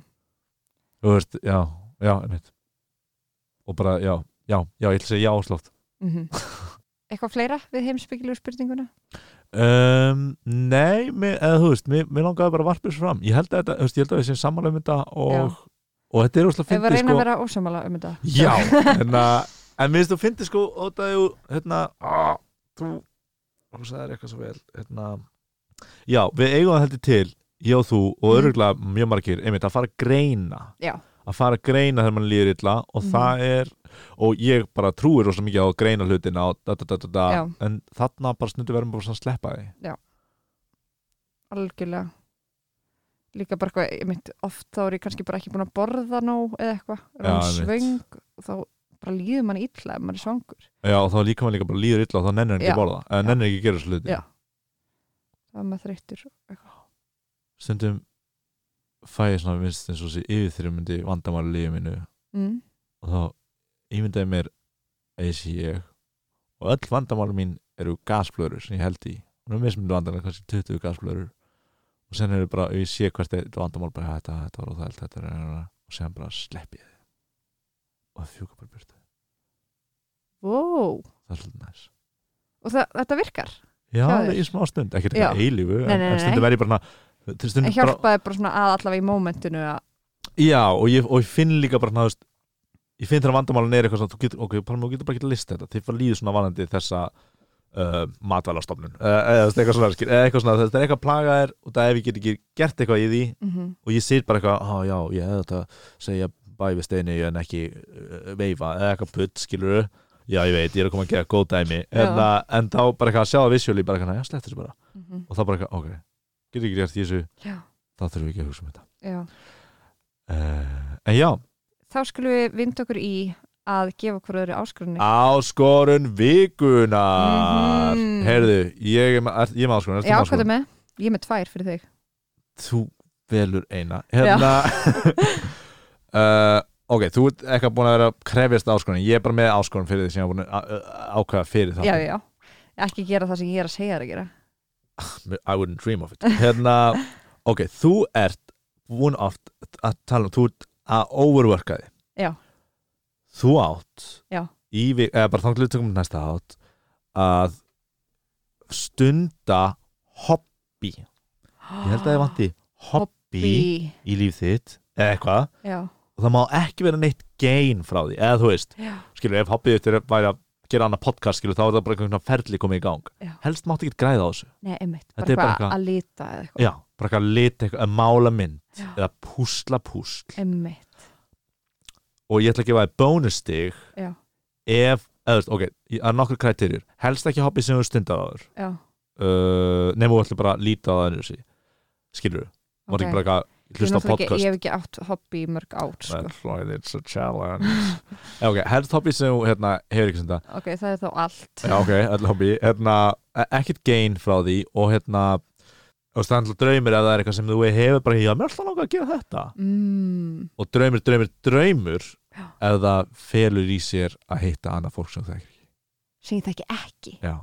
þú veist, já, já, einmitt og bara, já, já, já, ég ætla að segja já og slótt
mhm Eitthvað fleira við heimsbyggilegu spurninguna?
um, nei, mér, eða þú veist mér, mér langaði bara að varpa þessu fram ég held að, þetta, þú veist, ég held að við séum sammála um þetta og, og þetta er úrslega
Ef að
fyndið
reyna
sko
að vera ósamala um þetta
Já, hérna, en mér finnst þú fyndi sko ótaði úr, hérna á, þú, þú sagðir eitthvað svo vel hérna, já, við eigum að heldur til, ég og þú og
Mhm.
öruglega mjög margir, einmitt, að fara að greina
Já.
að fara að greina þegar mann líður illa og
Mhm.
það er, og ég bara trúir rosa mikið á að greina hlutina og da, da, da, da, da,
Já.
en þarna bara snutu verðum bara svona að sleppa því
algjörlega líka bara eitthvað, ég mynd oft þá er ég kannski bara ekki búin að borða nóg eða eitthvað, er
Já,
hann
einmitt.
svöng og þá bara líður mann illa ef mann er svangur
Já, og þá líka mann líka bara líður illa og þá nennir hann ekki
Já.
að borða, eða
Já.
nennir ekki að gera þessu hluti
Já. þá er maður þreyttur og eitthvað.
stundum fæ ég svona minnst eins og þessi yfirþyrmyndi vandamáli lífið minu
mm,
og þá ímyndaði mér að ég sé ég og öll vandamál mín eru gasblöður sem ég held í og það er mismundu vandamál, kannski 20 gasblöður og sen eru bara, ef ég sé hvert eitt vandamál bara þetta, þetta var óþælt, þetta er og sen bara slepp ég þið og það fjúka bara burtu,
wow.
það er svolítið næs
og það, þetta virkar
Já,
Hjá
alveg
þér?
í smá stund, ekkert
Já.
eitthvað eilífu
Nei,
en,
nei,
en
nei,
stundum
nei.
er ég bara svona- til stundum
en
bara-
hjálpaði bara svona að allavega í mómentinu að,
Já, og ég, og ég finn líka bara hana, ég finn þegar vandamálun er eitthvað svona, þú getur, ok, Palma, þú getur bara ekki að lista þetta þið fara líður svona vanandi þessa uh, matvælastofnun uh, eða þú veist, eitthvað svona, skil- eða eitthvað svona, þetta er eitthvað að plaga þér og það ef ég get ekki gert eitthvað í því
mm
og ég sýr bara eitthvað, á já, ég hefði þetta að segja bæ við steinu en ekki uh, veifa, eða eitthvað putt, skilur já, ég veit, ég er að koma að gera góð dæmi en,
Já.
að, en þá bara eitthvað að sjá það visjóli bara eitthvað, já, slett þessu bara
mhm,
og þá bara eitthvað, ok, getur ekki gert í þessu
já,
þá þurfum við ekki að hugsa um þetta
já.
uh, en já,
þá skulum við vinda okkur í að gefa okkur öðru áskrunni
Áskorun vikunar
Mhm.
Heyrðu, ég er með er- ég er með áskorun ertu
já,
með
hvað er
áskorun?
með? ég er með tvær fyrir þig
Þú velur eina Hérna uh, Ok, þú ert eitthvað búin að vera að krefjast áskorun Ég er bara með áskorun fyrir því sem ég er búin að að- ákveða fyrir það
já, já, ekki gera það sem ég er að segja þér að gera
I wouldn't dream of it Hérna, ok, þú ert búin oft að tala um Þú ert að overworka þig
Já.
Þú átt
Já.
í, vi- eða bara þannig tökum við næsta átt að stunda hobby ég held að
Ah,
það vanti hobby,
Bí.
í líf þitt eða eitthvað
já,
og það má ekki vera neitt gain frá því eða þú veist,
já,
skilur við, ef hobbyið þitt er að væri að gera annað podcast, skilur við, þá er það bara einhvern veginn ferli komið í gang
Já.
helst máttu ekki græða á þessu
nei, einmitt
Þetta er bara
bara, bara
eitthvað-
að lita eða eitthvað
já, bara eitthvað að lita eitthvað, að mála mynd
Já.
eða púsla púsl
Emmitt,
og ég ætla að gefa þér bónustig
Já.
ef, eða þú veist, ok, það er nokkur kriterjur helst ekki hobby sem þú stundar á þér
já
uh, nema þú ætlir bara að líta á það ennur sig skilur þú, okay.
ok.
ekki bara eitthvað
Ég
hlusta á
náttúrulega ekki-
podcast
Ég hef ekki átt hobby í mörg ár sko.
That's right, it's a challenge Já, ok, helst hobby sem þú, hérna, hefur ekki senda
Ok, það er þá allt
Já, ok, öll hobby hérna, e- ekkert gain frá því og hérna og það er alltaf draumir ef það er eitthvað sem þú hefur bara, já, mér er alltaf langa að gera þetta
mm,
og draumur, draumur, draumur
Já.
ef það felur í sér að hitta annað fólk sem það ekki
sem ég þekki ekki
já.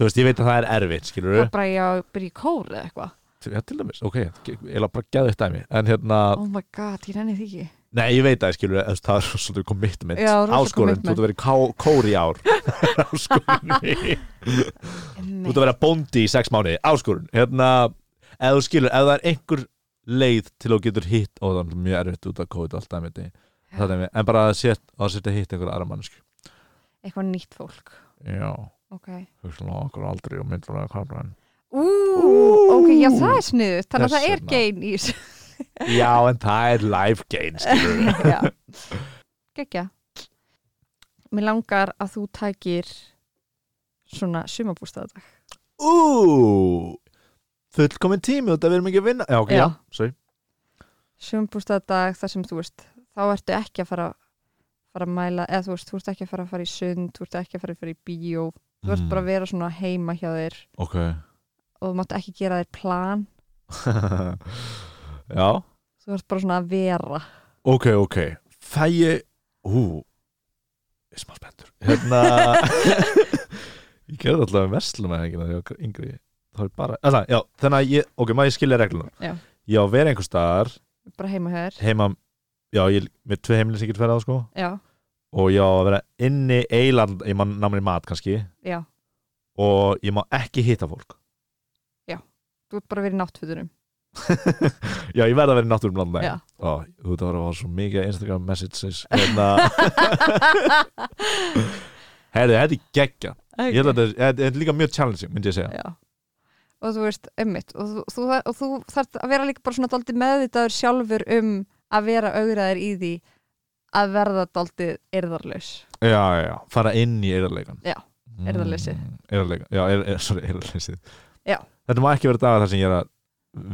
þú veist, ég veit að það er erfitt skilur
og bara ég á að byrja í kór eða eitthvað
já, til dæmis, ok, ég er bara geðu þetta dæmi en hérna,
oh my god, ég nenni því ekki
nei, ég veit að skilur það er svolítið commitment,
Já, rosa
áskorun þú
commitment.
ert að vera í ká- kór í ár áskorun þú ert að vera bóndi í sex mánuði áskorun, hérna ef þú skilur, ef það er einhver leið til þú getur hitt, og það er mjög erfitt út að kóta alltaf með þetta, það er en bara að setja að setja hitt einhver aðra mannsku
eitthvað nýtt fólk
já,
ok
hugsaðum okkur aldrei um og myndur að kamra hann
Ú,
Ú.
ok, já það er sniðut þannig
Þess
að það er
vegna.
gein í þessu
já, en það er life gain skilur við.
Já. geggja mér langar að þú tækir svona sumabústaðadag
ú fullkomin tími þetta verðum ekki að vinna já, ok, já,
Já.
sorry
sumabústaðadag þar sem þú veist þá ertu ekki að fara fara að mæla, eða þú veist, þú ert ekki að fara að fara í sund þú ert ekki að fara að fara í bíó þú ert
Mm,
bara að vera svona heima hjá þér
ok
og þú mátt ekki gera þér plan
já,
þú ert bara svona að vera
ok, ok fæ ég, ú ég er smá spenntur hérna ég gerði alltaf með verslum að þegar ég var yngri þá er bara, alveg, já, þannig að ég ok, maður ég skilja reglunum
Já.
ég á að vera einhvers staðar
bara heima hjá þér
heima já, ég, með tvei heimli sem ég get ferða á sko
já,
og ég á að vera inni eiland, ég má námið mat kannski
já,
og ég má ekki hitta fólk
þú ert bara að vera í náttfötunum
já, ég verða að vera í náttúrum landa
Já.
Ó, þú veit að vera að fá svo mikið Instagram messages hérna, herri, þetta er geggja ég held að þetta er- þetta er líka mjög challenging, myndi ég segja
Já. og þú veist, ummitt og þú, þú, og þú þarft að vera líka bara svona dálítið meðvitaður sjálfur um að vera augraðir í því að verða dálítið erðarlaus
já, já, já, fara inn í eirarleikan
Já, eirðarleysið.
eirarleikan, já, eir, eir, sorry, eirarleysið
Já.
þetta má ekki vera dagar þar sem ég er að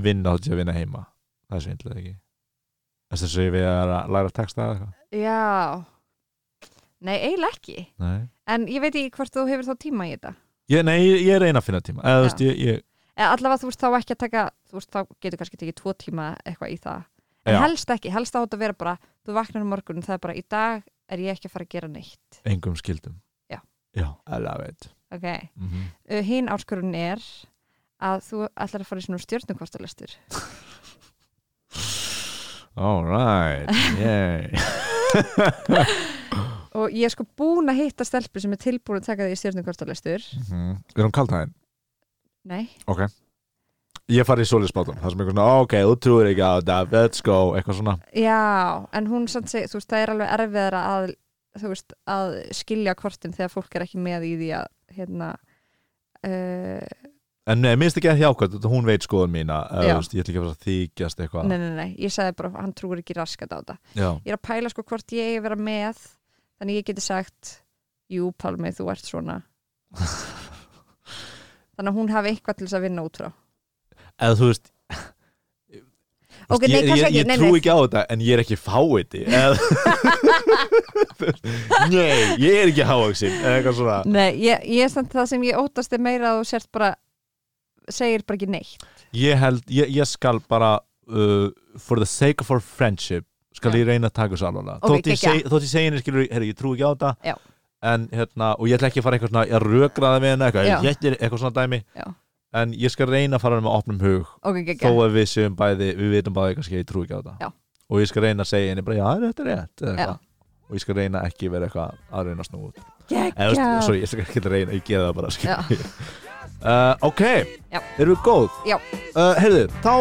vinna þá til að vinna heima það er svindlega ekki þess að segja við er að læra texta eða eitthvað
já nei, eiginlega ekki
Nei.
en ég veit ekki hvort þú hefur þá tíma í þetta
Ég, nei, ég, ég reyna að finna tíma eða, þú veist, ég, ég,
eða allavega þú veist þá ekki að taka þú veist þá getur kannski tekið tvo tíma eitthvað í það en
já,
helst ekki, helst þá átt að vera bara þú vaknar um morgun og það er bara í dag er ég ekki að fara að gera neitt
engum skildum
Já.
já, I love it
okay.
mm
uh, hinn áskorun er að þú ætlar að fara í svona stjórnumkvartalistur
all right yay
og ég er sko búin að hitta stelpu sem er tilbúin að taka því í stjórnumkvartalistur
Mhm. er hún kaldhæðin?
nei,
ég fari í solisbátum, það sem eitthvað svona ok, þú trúir ekki á þetta, let's go eitthvað svona,
já, en hún samt segi, þú veist, það er alveg erfiðara að þú veist, að skilja kvartin þegar fólk er ekki með í því að hérna uh,
en nei, minnst ekki að hjákvæmt þetta hún veit skoðun mína, eða,
Já.
þú veist, ég ætla ekki að fara að þykjast eitthvað
nei, nei, nei, ég sagði bara hann trúir ekki raskat á þetta
já,
ég er að pæla sko hvort ég eigi að vera með þannig ég geti sagt jú Pálmi, þú ert svona þannig að hún hafi eitthvað til þess að vinna út frá
eða þú veist þú
Ok,
veist,
nei,
ég,
kannski
ég,
ekki,
ég
nei,
trú
nei.
ekki á þetta en ég er ekki fáiði nei, ég er ekki háaksin eða eitthvað svona
Nei, ég, ég er samt það sem ég óttast er meira að þú sért bara segir bara ekki neitt
ég held, ég, ég skal bara uh, for the sake of our friendship skal
Já.
ég reyna að taka þessu alvarlega
Ok,
þótt, ég
geggjað.
seg- þótt ég segi henni, skilur, herri, ég trú ekki á
Já.
þetta en, hérna, og ég ætla ekki að fara eitthvað svona að rökraða við henni eitthvað,
Já.
ég ætla eitthvað svona dæmi
Já.
en ég skal reyna að fara með opnum hug
Ok, ekki,
þó að við séum bæði, við vitum bæði kannski að ég trú ekki á þetta
Já.
og ég skal reyna að segja henni bara, já, þetta er rétt eða
Já.
eitthvað. og ég skal reyna ekki vera eitthvað að reyna að snúa út eða,
ekki
þú veist, sorry, ég skal ekki reyna, ég geða það bara skilur.
Já,
uh, ok,
Já.
erum við góð
já,
uh, heyrðu, þá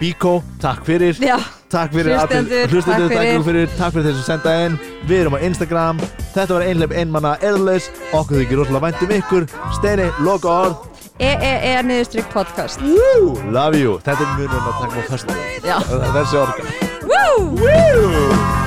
Bíkó, takk fyrir
já,
Takk fyrir að
Hlustendur,
þið- hlustendur,
takk
takk
fyrir.
ykkur fyrir Takk fyrir þeir sem senda inn Við erum á Instagram Þetta var einhleip einmanna erðlaus Okkur þykir rosalega vænt um ykkur Steini, loka orð
E e-e-e niðurstrykk podcast
Woo, Love you Þetta er munum að taka á fyrstu
Já.
Þessi orga
Woo!
Woo